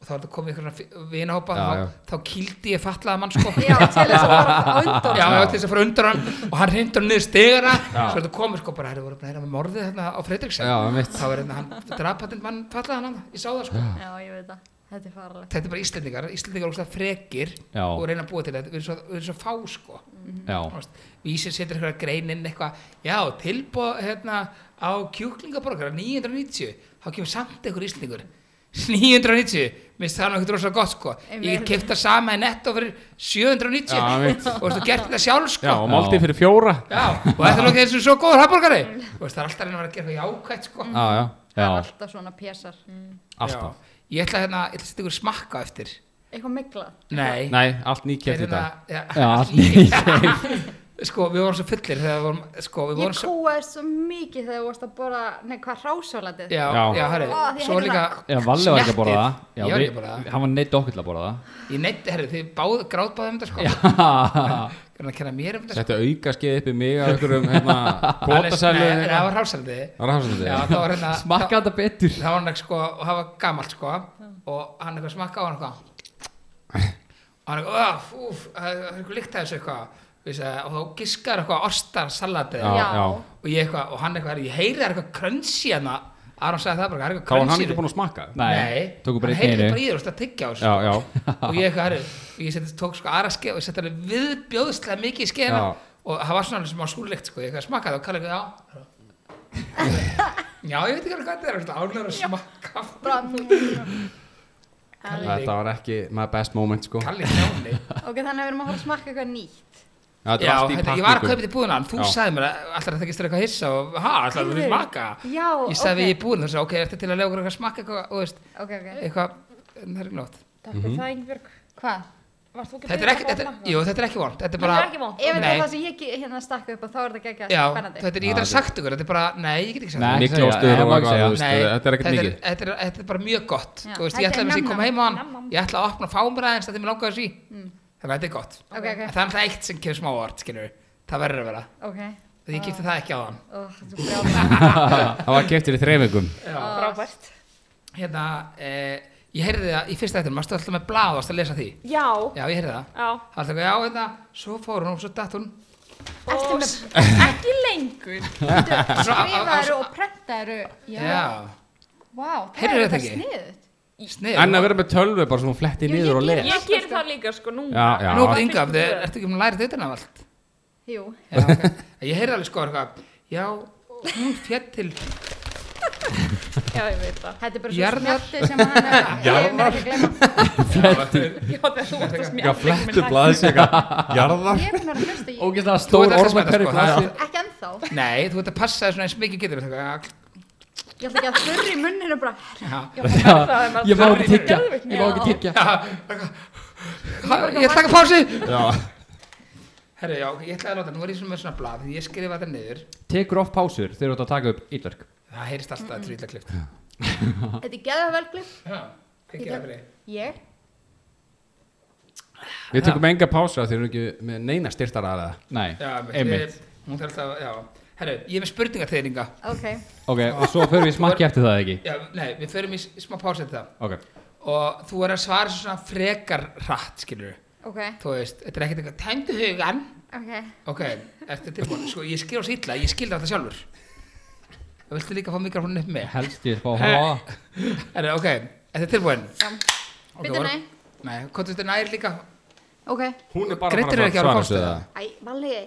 [SPEAKER 2] og þá er þetta komið ykkur vinahópa
[SPEAKER 3] Já, já.
[SPEAKER 2] þá, þá kýldi ég fatlaða mann sko
[SPEAKER 1] (laughs) Já, til þess að fara á undan
[SPEAKER 2] já, já, til þess að fara undan hann og hann reyndur hann niður stegana
[SPEAKER 3] Já.
[SPEAKER 2] svo þetta komið sko bara, það voru bara með morðið þarna á Fredriksson
[SPEAKER 3] Já, mitt
[SPEAKER 2] þá er hérna hann drapatinn mann fallaðan hann ég sá það sko
[SPEAKER 1] Já, ég veit það, þetta er farlegt
[SPEAKER 2] þetta er bara Íslendingar, Íslendingar er óslega frekir
[SPEAKER 5] Já.
[SPEAKER 2] og reyna að búa til þetta, við erum svo, við erum svo fá sko
[SPEAKER 5] já,
[SPEAKER 2] Þú veist, vísir setur eitthvað grein inn eitthvað, já, tilbúð hérna á kjúklingaborgara 990, þá kemur samt einhver íslendingur 990, minnst það er nú ekkert rosalega gott sko, ég get
[SPEAKER 1] Einmitt.
[SPEAKER 2] keipt það sama í netto fyrir 790
[SPEAKER 3] Já, mitt.
[SPEAKER 2] og þú gert þetta sjálf sko
[SPEAKER 3] Já, og máltið fyrir fjóra
[SPEAKER 2] Já, og þetta er nú ekki eins og svo góður hafborgari Þú veist, það er alltaf að reyna að vera að gera eitthvað jákvætt sko
[SPEAKER 3] Já, já,
[SPEAKER 1] Það er
[SPEAKER 5] já,
[SPEAKER 1] alltaf svona pésar mm.
[SPEAKER 3] alltaf
[SPEAKER 2] Já. Ég ætla hérna, ég ætla að setja ykkur smakka eftir
[SPEAKER 1] Eitthvað mikla
[SPEAKER 2] Nei,
[SPEAKER 3] Nei, allt nýkjæft í
[SPEAKER 2] hérna,
[SPEAKER 3] dag
[SPEAKER 2] já,
[SPEAKER 5] já allt
[SPEAKER 2] allt-
[SPEAKER 5] nýtt
[SPEAKER 2] (laughs) Sko, við vorum svo fullir þegar við vorum, sko, við vorum
[SPEAKER 1] Ég
[SPEAKER 2] svo
[SPEAKER 1] kúaðist svo mikið þegar þú varst að bora Nei, hvað rásalatið
[SPEAKER 2] já,
[SPEAKER 3] Já.
[SPEAKER 2] já, já herri,
[SPEAKER 1] Ó, því hérna,
[SPEAKER 2] svo
[SPEAKER 1] heyrði
[SPEAKER 2] líka
[SPEAKER 5] Já, Valli var ekki að borða það
[SPEAKER 2] Smettið. Ég var ekki að borða það.
[SPEAKER 5] Hann var neitt okkur til að borða
[SPEAKER 2] ég neitt, herri, þið báð, grátbáðum þetta sko
[SPEAKER 5] það
[SPEAKER 2] kannan að kenna mér um þetta sko
[SPEAKER 3] Þetta auka skeið upp í mig að ykkur um hérna
[SPEAKER 2] (laughs) Nei,
[SPEAKER 3] Kvotasælu
[SPEAKER 2] nei, það var hrásaldi
[SPEAKER 3] Það var hafsandi
[SPEAKER 2] já, það var hérna
[SPEAKER 5] Smakka þetta betur
[SPEAKER 2] það var hann ekki sko, og það var gamalt sko og hann eitthvað smakka á hann
[SPEAKER 3] (laughs)
[SPEAKER 2] eitthvað og hann eitthvað, úf, það er eitthvað líkt að þessu eitthvað Ég sagði, og þá giskar eitthvað orstar salatið
[SPEAKER 3] Já,
[SPEAKER 1] Já.
[SPEAKER 3] já
[SPEAKER 2] og ég eitthvað, og hann eitthvað, ég heyri það er eitthvað krönsi hérna, Aron sagði það bara, það er
[SPEAKER 3] Þá
[SPEAKER 2] eitthvað
[SPEAKER 3] var hann
[SPEAKER 2] krönsi
[SPEAKER 3] ekki búinn að smakka
[SPEAKER 5] Nei, tóku bara
[SPEAKER 2] hann
[SPEAKER 5] einn í
[SPEAKER 2] heyrði
[SPEAKER 5] einu.
[SPEAKER 2] bara í þér og það tyggja á þessu
[SPEAKER 3] Já, já
[SPEAKER 2] og ég eitthvað, herru, og ég seti, tók sko aðra skeið og ég seti alveg viðbjóðslega mikið í skeiðina
[SPEAKER 3] Já.
[SPEAKER 2] og það var svona alveg smá súrlegt sko, ég eitthvað smakkaði það og kallið eitthvað, (laughs) já já, ég veit ekki alveg hvað þetta er, ánlega að smakka aftur.
[SPEAKER 1] Bara, mm.
[SPEAKER 2] Kalli-
[SPEAKER 3] Þetta var ekki my best moment sko Já,
[SPEAKER 2] Kalli Grjáni
[SPEAKER 1] Ok, þannig að við erum að fara að smakka eitthvað nýtt
[SPEAKER 3] þetta
[SPEAKER 2] Já,
[SPEAKER 3] var allt í
[SPEAKER 2] þetta, ég var að kaupa
[SPEAKER 3] pakningu
[SPEAKER 2] þetta í búðina en þú
[SPEAKER 3] Já.
[SPEAKER 2] sagði mér að alltaf þetta ekki styrir eitthvað hissa og ha, alltaf þú
[SPEAKER 1] Heyrðu.
[SPEAKER 2] fyrir maka
[SPEAKER 1] Já,
[SPEAKER 2] Ég sagði við
[SPEAKER 1] ok.
[SPEAKER 2] ég í búðina og sagði, ok, ertu til að lega okkur eitthvað smakka eitthvað, þú veist,
[SPEAKER 1] Ok, ok,
[SPEAKER 2] eitthvað það er ekki nótt
[SPEAKER 4] Takk fyrir það, Ingebjörg.
[SPEAKER 1] hvað?
[SPEAKER 4] Var þú ekki
[SPEAKER 2] Mhm. Þetta er ekki, þetta, jú, þetta er ekki vond Þetta er
[SPEAKER 4] Þetta
[SPEAKER 2] bara,
[SPEAKER 4] er ekki vond.
[SPEAKER 1] Ef þetta
[SPEAKER 2] Nei.
[SPEAKER 1] er það sem ég ge- hérna stakka upp og þá er þetta geggjað
[SPEAKER 2] já,
[SPEAKER 1] spennandi
[SPEAKER 2] þetta er, ég get að sagt ykkur, þetta er bara, nei, ég get ekki sagt
[SPEAKER 5] Nei,
[SPEAKER 2] ykkur.
[SPEAKER 5] ekki segja,
[SPEAKER 3] Niklástur
[SPEAKER 5] nei,
[SPEAKER 3] og
[SPEAKER 5] má ekki
[SPEAKER 3] eitthvað,
[SPEAKER 5] segja.
[SPEAKER 3] þú veist,
[SPEAKER 2] Nei,
[SPEAKER 3] þetta er ekkert mikið.
[SPEAKER 2] Þetta er, þetta er bara mjög gott,
[SPEAKER 1] Já,
[SPEAKER 2] þú veist,
[SPEAKER 1] þetta
[SPEAKER 2] ég ætlaði
[SPEAKER 1] er
[SPEAKER 2] mér að ég kom
[SPEAKER 1] nam-nam.
[SPEAKER 2] heim á hann
[SPEAKER 4] Nam-nam.
[SPEAKER 2] Ég ætla að opna og fá mér aðeins þetta er mér langaði sí Þannig að þetta er gott
[SPEAKER 1] Mm. Ok, ok.
[SPEAKER 2] En Það er alltaf eitt sem kemur smá vart, skilur Það verður að vera,
[SPEAKER 1] Ok,
[SPEAKER 2] því ég kipti það ekki á hann
[SPEAKER 1] oh, þú
[SPEAKER 2] (laughs)
[SPEAKER 1] brjálar
[SPEAKER 3] (laughs) Það var keftir í þreifingum
[SPEAKER 4] Frábært.
[SPEAKER 2] Hérna, eh, ég heyrði það í fyrsta eftir Varstu alltaf með blað, varstu að lesa því
[SPEAKER 4] Já,
[SPEAKER 2] Já, ég heyrði það
[SPEAKER 4] já.
[SPEAKER 2] Það er alltaf, já, hérna, svo fór hún og svo datt hún
[SPEAKER 1] Ertu
[SPEAKER 4] Og
[SPEAKER 1] með-
[SPEAKER 4] s- Ekki lengur.
[SPEAKER 2] Svo á- á- á-
[SPEAKER 1] Skrifaðu og prentaðu Já,
[SPEAKER 2] Já,
[SPEAKER 1] vá, það
[SPEAKER 2] Heyrðu
[SPEAKER 1] er
[SPEAKER 2] þetta
[SPEAKER 1] þetta
[SPEAKER 2] ekki?
[SPEAKER 1] sniðut
[SPEAKER 2] snið
[SPEAKER 3] En að vera með tölvu bara svona fletti
[SPEAKER 1] Jú, ég
[SPEAKER 3] niður og
[SPEAKER 1] geri
[SPEAKER 3] les
[SPEAKER 1] það.
[SPEAKER 4] Ég ger það líka sko núna.
[SPEAKER 3] Já, já.
[SPEAKER 2] Nú,
[SPEAKER 4] Það
[SPEAKER 2] Inga,
[SPEAKER 4] finnst mér.
[SPEAKER 2] ertu ekki um að læra þetta utan af allt?
[SPEAKER 1] Jú,
[SPEAKER 2] Já,
[SPEAKER 3] (laughs)
[SPEAKER 2] okay. Ég heyrði alveg sko eitthvað, já, hún fjall til
[SPEAKER 4] Já, ég veit
[SPEAKER 1] (laughs)
[SPEAKER 4] það.
[SPEAKER 1] þetta er bara svo
[SPEAKER 2] Jarðar.
[SPEAKER 1] smerti sem hann er Ég hef mér ekki gleyma
[SPEAKER 4] Já, þegar þú varst að smjá.
[SPEAKER 3] Já, flettu blaðsika Jarðar
[SPEAKER 1] Ég er búin að vera að hlusta í
[SPEAKER 5] Ógeðslega
[SPEAKER 2] Þú ert
[SPEAKER 5] stór
[SPEAKER 2] ekki að
[SPEAKER 5] orð með
[SPEAKER 2] smetta,
[SPEAKER 5] hverju
[SPEAKER 2] sko,
[SPEAKER 5] glasi
[SPEAKER 2] það
[SPEAKER 1] Ekki ennþá
[SPEAKER 2] Nei, þú ert að passa þér svona eins mikið getur þetta
[SPEAKER 1] Ég ætla ekki að þurri munninu bara herra,
[SPEAKER 2] Já,
[SPEAKER 4] Já,
[SPEAKER 5] Ég má ekki tyggja
[SPEAKER 4] Geðveikt.
[SPEAKER 5] Ég má ekki tyggja
[SPEAKER 2] ég ætla að taka pási
[SPEAKER 3] Já,
[SPEAKER 2] Herru, já, ég ætla að láta, nú er ég svona með svona blað Því ég skrifa þetta niður
[SPEAKER 5] Tekur off pásur þegar þú ert að taka upp ítverk
[SPEAKER 2] Það heyrist alltaf að trýla klift
[SPEAKER 1] Þetta er geðað velglif
[SPEAKER 2] Já, hvað
[SPEAKER 1] Ég-
[SPEAKER 2] gera fyrir
[SPEAKER 1] Ég
[SPEAKER 3] Við tökum enga pása þegar við erum ekki með neina styrtara að
[SPEAKER 5] Nei,
[SPEAKER 2] Já,
[SPEAKER 5] einmitt
[SPEAKER 2] við- Hún þarf alltaf, að- já Herru, ég er með spurningar þegar ynga
[SPEAKER 1] Ok,
[SPEAKER 5] Ok, og svo förum við í smakki eftir það ekki
[SPEAKER 2] Já, nei, við förum í s- smá pási þetta
[SPEAKER 5] Ok,
[SPEAKER 2] Og þú er að svara þessu svona frekar hratt, skilur
[SPEAKER 1] ok,
[SPEAKER 2] Þú veist, þetta er ekkert eitthvað Tæmdu hugan
[SPEAKER 1] ok
[SPEAKER 2] Ok, ertu tilbúin Sko, ég skil á svo illa, ég skil þetta sjálfur Það viltu líka fá mikrofónin upp með
[SPEAKER 5] helst ég spá að hafa
[SPEAKER 2] Herru, ok, þetta er tilbúin Ok,
[SPEAKER 1] Bittu
[SPEAKER 2] voru-
[SPEAKER 1] nei
[SPEAKER 2] Nei, hvað þetta nær líka?
[SPEAKER 1] Ok
[SPEAKER 3] Hún er
[SPEAKER 2] bara að fara að svara þessu eða?
[SPEAKER 1] Æ, Valli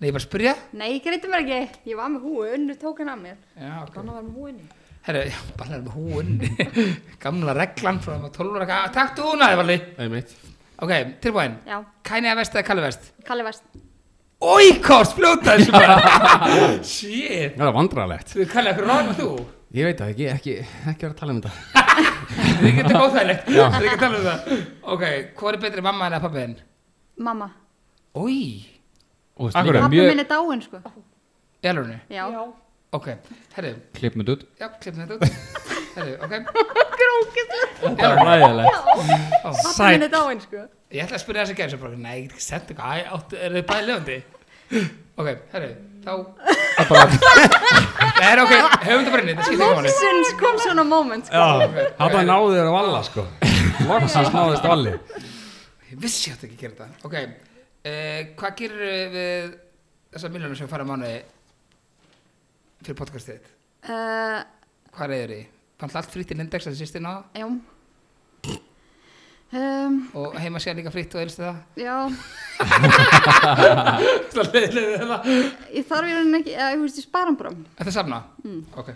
[SPEAKER 2] Nei, ég bara spyrja.
[SPEAKER 1] Nei, ég greiti mér ekki Ég var með húu, unnu tók hann af mér
[SPEAKER 2] Já, ok.
[SPEAKER 4] Þannig var með húinni.
[SPEAKER 2] Herru, já, bara með húun. (laughs) Gamla reglan frá þeim að 12 ára. Ah, Takk þú hún aðeins, Valli.
[SPEAKER 3] Einmitt
[SPEAKER 2] Ok, tilbúin.
[SPEAKER 1] Já,
[SPEAKER 2] Kæni að vest eða kalli vest?
[SPEAKER 1] Kalli Vest
[SPEAKER 2] Ói, kost, fljóta þessu (laughs) bara. Shit.
[SPEAKER 3] Það er vandralegt
[SPEAKER 2] Þú kalli okkur rann þú.
[SPEAKER 3] Ég veit það ekki, ekki, ekki vera að tala um þetta
[SPEAKER 2] Þið getur góðþægilegt. Þið getur að tala um það. Ok, hvað er betri mamma en að pappi þinn?
[SPEAKER 1] Mamma
[SPEAKER 2] Ói.
[SPEAKER 5] Og
[SPEAKER 3] Af hverju?
[SPEAKER 5] slikka
[SPEAKER 1] Pappi
[SPEAKER 5] mjög
[SPEAKER 1] minn er dáinn sko
[SPEAKER 2] Í alvörunni?
[SPEAKER 1] Já,
[SPEAKER 4] Já.
[SPEAKER 2] Ok, herru,
[SPEAKER 5] Klipp mig út
[SPEAKER 2] já, klippum þetta út. Herru, ok.
[SPEAKER 5] Þetta er ræðilegt
[SPEAKER 2] Ó,
[SPEAKER 1] pappi minn er dáinn sko
[SPEAKER 2] Ég ætla að spyrja þess að gera þessu bara, nei, ég get ekki senda eitthvað, æ, áttu, eru þið bæði lefandi? Ok, herru, þá,
[SPEAKER 5] Það er bara
[SPEAKER 2] (laughs) Nei, ok, höfum þetta bara inn, þetta skiptir ekki máli
[SPEAKER 1] Loksins kom svona moment sko.
[SPEAKER 3] Þetta náðu þér að valla
[SPEAKER 2] (laughs)
[SPEAKER 3] sko Loksins náðist valli
[SPEAKER 2] Ég vissi ég átti ekki að gera þetta Ok, uh, hvað gerir við þessar miljónum sem fara á mánuði fyrir podcastið þitt?
[SPEAKER 1] uh,
[SPEAKER 2] Hvað reyður því? Fannst allt frýtt til index að þessi sýstina
[SPEAKER 1] Já um,
[SPEAKER 2] og heima sér líka frýtt og elstu það?
[SPEAKER 1] Já,
[SPEAKER 2] Það leiðilega við það
[SPEAKER 1] ég þarf í rauninni ekki eða, Ég veist, ég spara hann bara
[SPEAKER 2] Þetta safna? Mm. Ok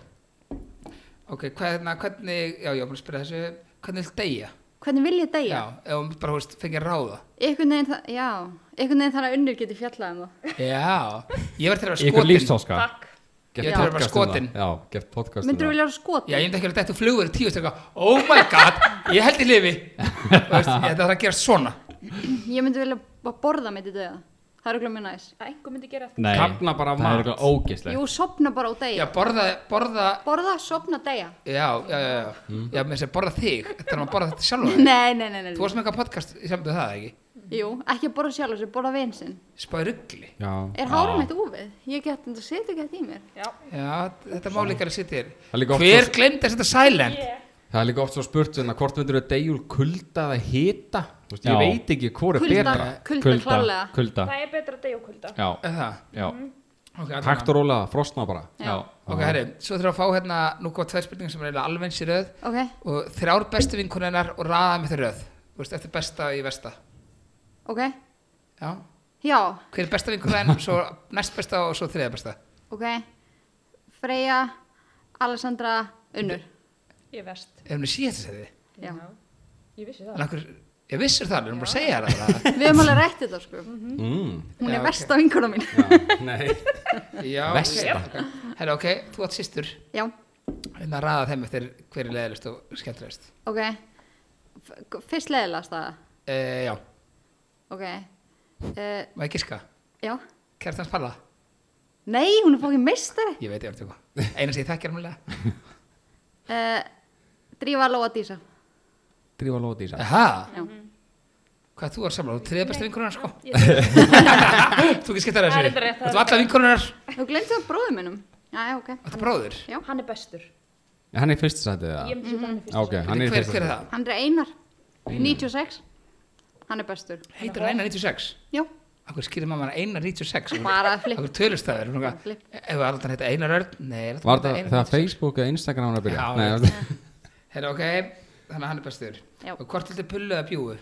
[SPEAKER 2] Ok, hvernig, hvernig, já, ég var búin að spyrja þessu Hvernig vil deyja?
[SPEAKER 1] Hvernig vil ég
[SPEAKER 2] Já,
[SPEAKER 1] degja?
[SPEAKER 2] ef hún bara, hú veist, fengið að ráða
[SPEAKER 1] Einhvern veginn það, já Einhvern veginn þar að unnur geti fjallað um það
[SPEAKER 2] Já, ég verð til að vera
[SPEAKER 5] í ykkur
[SPEAKER 2] skotin
[SPEAKER 5] lífsháska
[SPEAKER 4] Takk.
[SPEAKER 3] Gert
[SPEAKER 2] Ég ætla að vera
[SPEAKER 3] podcast um
[SPEAKER 2] skotin.
[SPEAKER 3] það. Já, gett podcast um
[SPEAKER 1] Myndur þú
[SPEAKER 3] það.
[SPEAKER 1] vilja vera skot?
[SPEAKER 2] Já, ég myndi ekki að þetta flugur í tíu styrka Oh my god, ég held í lifi Þú veist, Ég ætla að gera svona
[SPEAKER 1] Ég myndi vilja bara borða mitt í döða Það er okkur mjög næs
[SPEAKER 4] að einhver myndi gera það
[SPEAKER 5] Nei,
[SPEAKER 3] Kafna bara
[SPEAKER 5] það
[SPEAKER 3] mat.
[SPEAKER 5] er eitthvað ógeðslegt
[SPEAKER 1] Jú, sopna bara á
[SPEAKER 2] Já,
[SPEAKER 1] degja
[SPEAKER 2] borða, borða
[SPEAKER 1] Borða, sopna, degja
[SPEAKER 2] Já, já, já, já,
[SPEAKER 3] Hmm?
[SPEAKER 2] já með þess að borða þig Þetta er að borða þetta sjálf
[SPEAKER 1] (laughs) Nei, nei, nei, nei,
[SPEAKER 2] Þú varst með eitthvað podcast í sambandi við það, ekki?
[SPEAKER 1] Jú, ekki borða sjálf sér, borða vinsinn
[SPEAKER 2] Spáði ruggli
[SPEAKER 3] Já,
[SPEAKER 1] Er hárum eitt úfið? Ég get þetta setja ekki þetta í mér
[SPEAKER 4] já,
[SPEAKER 2] Já, þetta má líka að sitja
[SPEAKER 3] Það er
[SPEAKER 2] þér
[SPEAKER 3] líka oft
[SPEAKER 2] Hver
[SPEAKER 3] svo-
[SPEAKER 2] glemdi að setja silent?
[SPEAKER 4] ég
[SPEAKER 3] það er líka oft svo spurt svona, hvort myndur þau degjul kulda eða hita Þú veist,
[SPEAKER 5] Já.
[SPEAKER 3] ég veit ekki hvort er
[SPEAKER 1] Kulda.
[SPEAKER 3] betra
[SPEAKER 1] Kulda, klárlega. Mm,
[SPEAKER 5] kulda
[SPEAKER 4] það er betra að deyja og kulda
[SPEAKER 5] Já,
[SPEAKER 2] Er það?
[SPEAKER 5] já,
[SPEAKER 2] Ok, allavega.
[SPEAKER 3] Hægt og rólega, frosna bara
[SPEAKER 5] já
[SPEAKER 2] Ok, herri, svo þurfum við að fá hérna nú góða tvær spurningar sem er eiginlega alveg eins í röð
[SPEAKER 1] Ok,
[SPEAKER 2] og þrjár bestu vinkunennar og raða með þeir röð Þú veist, eftir besta í versta
[SPEAKER 1] ok
[SPEAKER 2] Já,
[SPEAKER 1] Já,
[SPEAKER 2] hver er besta vinkunen, svo næst besta og svo þriða besta
[SPEAKER 1] ok Freyja, Alessandra, Unnur
[SPEAKER 4] ég er verst
[SPEAKER 2] Ef hún er síðan þess að því
[SPEAKER 1] Já.
[SPEAKER 4] ég vissi það
[SPEAKER 2] En okkur, ég vissur það, við erum bara að segja það bara.
[SPEAKER 1] Við hefum alveg rætt þetta sko
[SPEAKER 3] mm.
[SPEAKER 1] Hún
[SPEAKER 2] Já,
[SPEAKER 1] er
[SPEAKER 2] ok.
[SPEAKER 1] verst á vinkona mín (laughs)
[SPEAKER 3] Nei
[SPEAKER 2] (laughs) Já,
[SPEAKER 3] Versta.
[SPEAKER 2] okay. Herri, ok, þú átt sýstur
[SPEAKER 1] Já,
[SPEAKER 2] hérna að raða þeim eftir hver er leðilist og skemmtilegist
[SPEAKER 1] ok F- Fyrst leðilegast það
[SPEAKER 2] e, Já,
[SPEAKER 1] Ok uh,
[SPEAKER 2] maður giska,
[SPEAKER 1] Já
[SPEAKER 2] kærtans palla
[SPEAKER 1] Nei, hún er fókin meistari
[SPEAKER 2] Ég veit ég eftir hvað, eina sem ég þekkir mjög
[SPEAKER 1] uh, Drífa Lóa Dísa
[SPEAKER 3] Drífa lóða dísa
[SPEAKER 2] (laughs) Aha,
[SPEAKER 1] Já.
[SPEAKER 2] hvað þú er samla, þú er þriða besta vinkunennar sko
[SPEAKER 4] ég er verst.
[SPEAKER 2] (laughs) Þú ekki skemmtar
[SPEAKER 4] Það er
[SPEAKER 2] þessu
[SPEAKER 4] reyndar rétt, það
[SPEAKER 2] Þú
[SPEAKER 4] er
[SPEAKER 2] ert alla vinkonunnar
[SPEAKER 1] Þú glemti það bróðum minnum Já, já, ok
[SPEAKER 2] Þetta er bróður
[SPEAKER 4] hann er bestur
[SPEAKER 3] Hann er í fyrsta sætið það
[SPEAKER 4] ég myndi setja hann í fyrsta
[SPEAKER 3] Ok,
[SPEAKER 4] sæti.
[SPEAKER 3] hann er í
[SPEAKER 2] Hver,
[SPEAKER 3] fyrsta
[SPEAKER 2] hver er
[SPEAKER 3] sætið
[SPEAKER 2] það?
[SPEAKER 1] Hann er Einar 96 Hann er bestur
[SPEAKER 2] Heitir hann Einar 96
[SPEAKER 1] Já,
[SPEAKER 2] Akkur skýrir mamma hann Einar 96
[SPEAKER 1] bara flipp
[SPEAKER 2] Akkur tölust það er svona eitthvað,
[SPEAKER 1] Flip.
[SPEAKER 2] Ef var alltaf heita Einar Örn Nei, er alltaf hann
[SPEAKER 3] Var það
[SPEAKER 2] Einar
[SPEAKER 3] þegar
[SPEAKER 2] 96?
[SPEAKER 3] Facebook eða Instagram var að byrja?
[SPEAKER 2] Já,
[SPEAKER 3] Nei,
[SPEAKER 2] já.
[SPEAKER 3] það-
[SPEAKER 2] Herra ok, þannig að hann er bestur
[SPEAKER 1] Já.
[SPEAKER 2] Og hvort viltu pullu eða bjúu?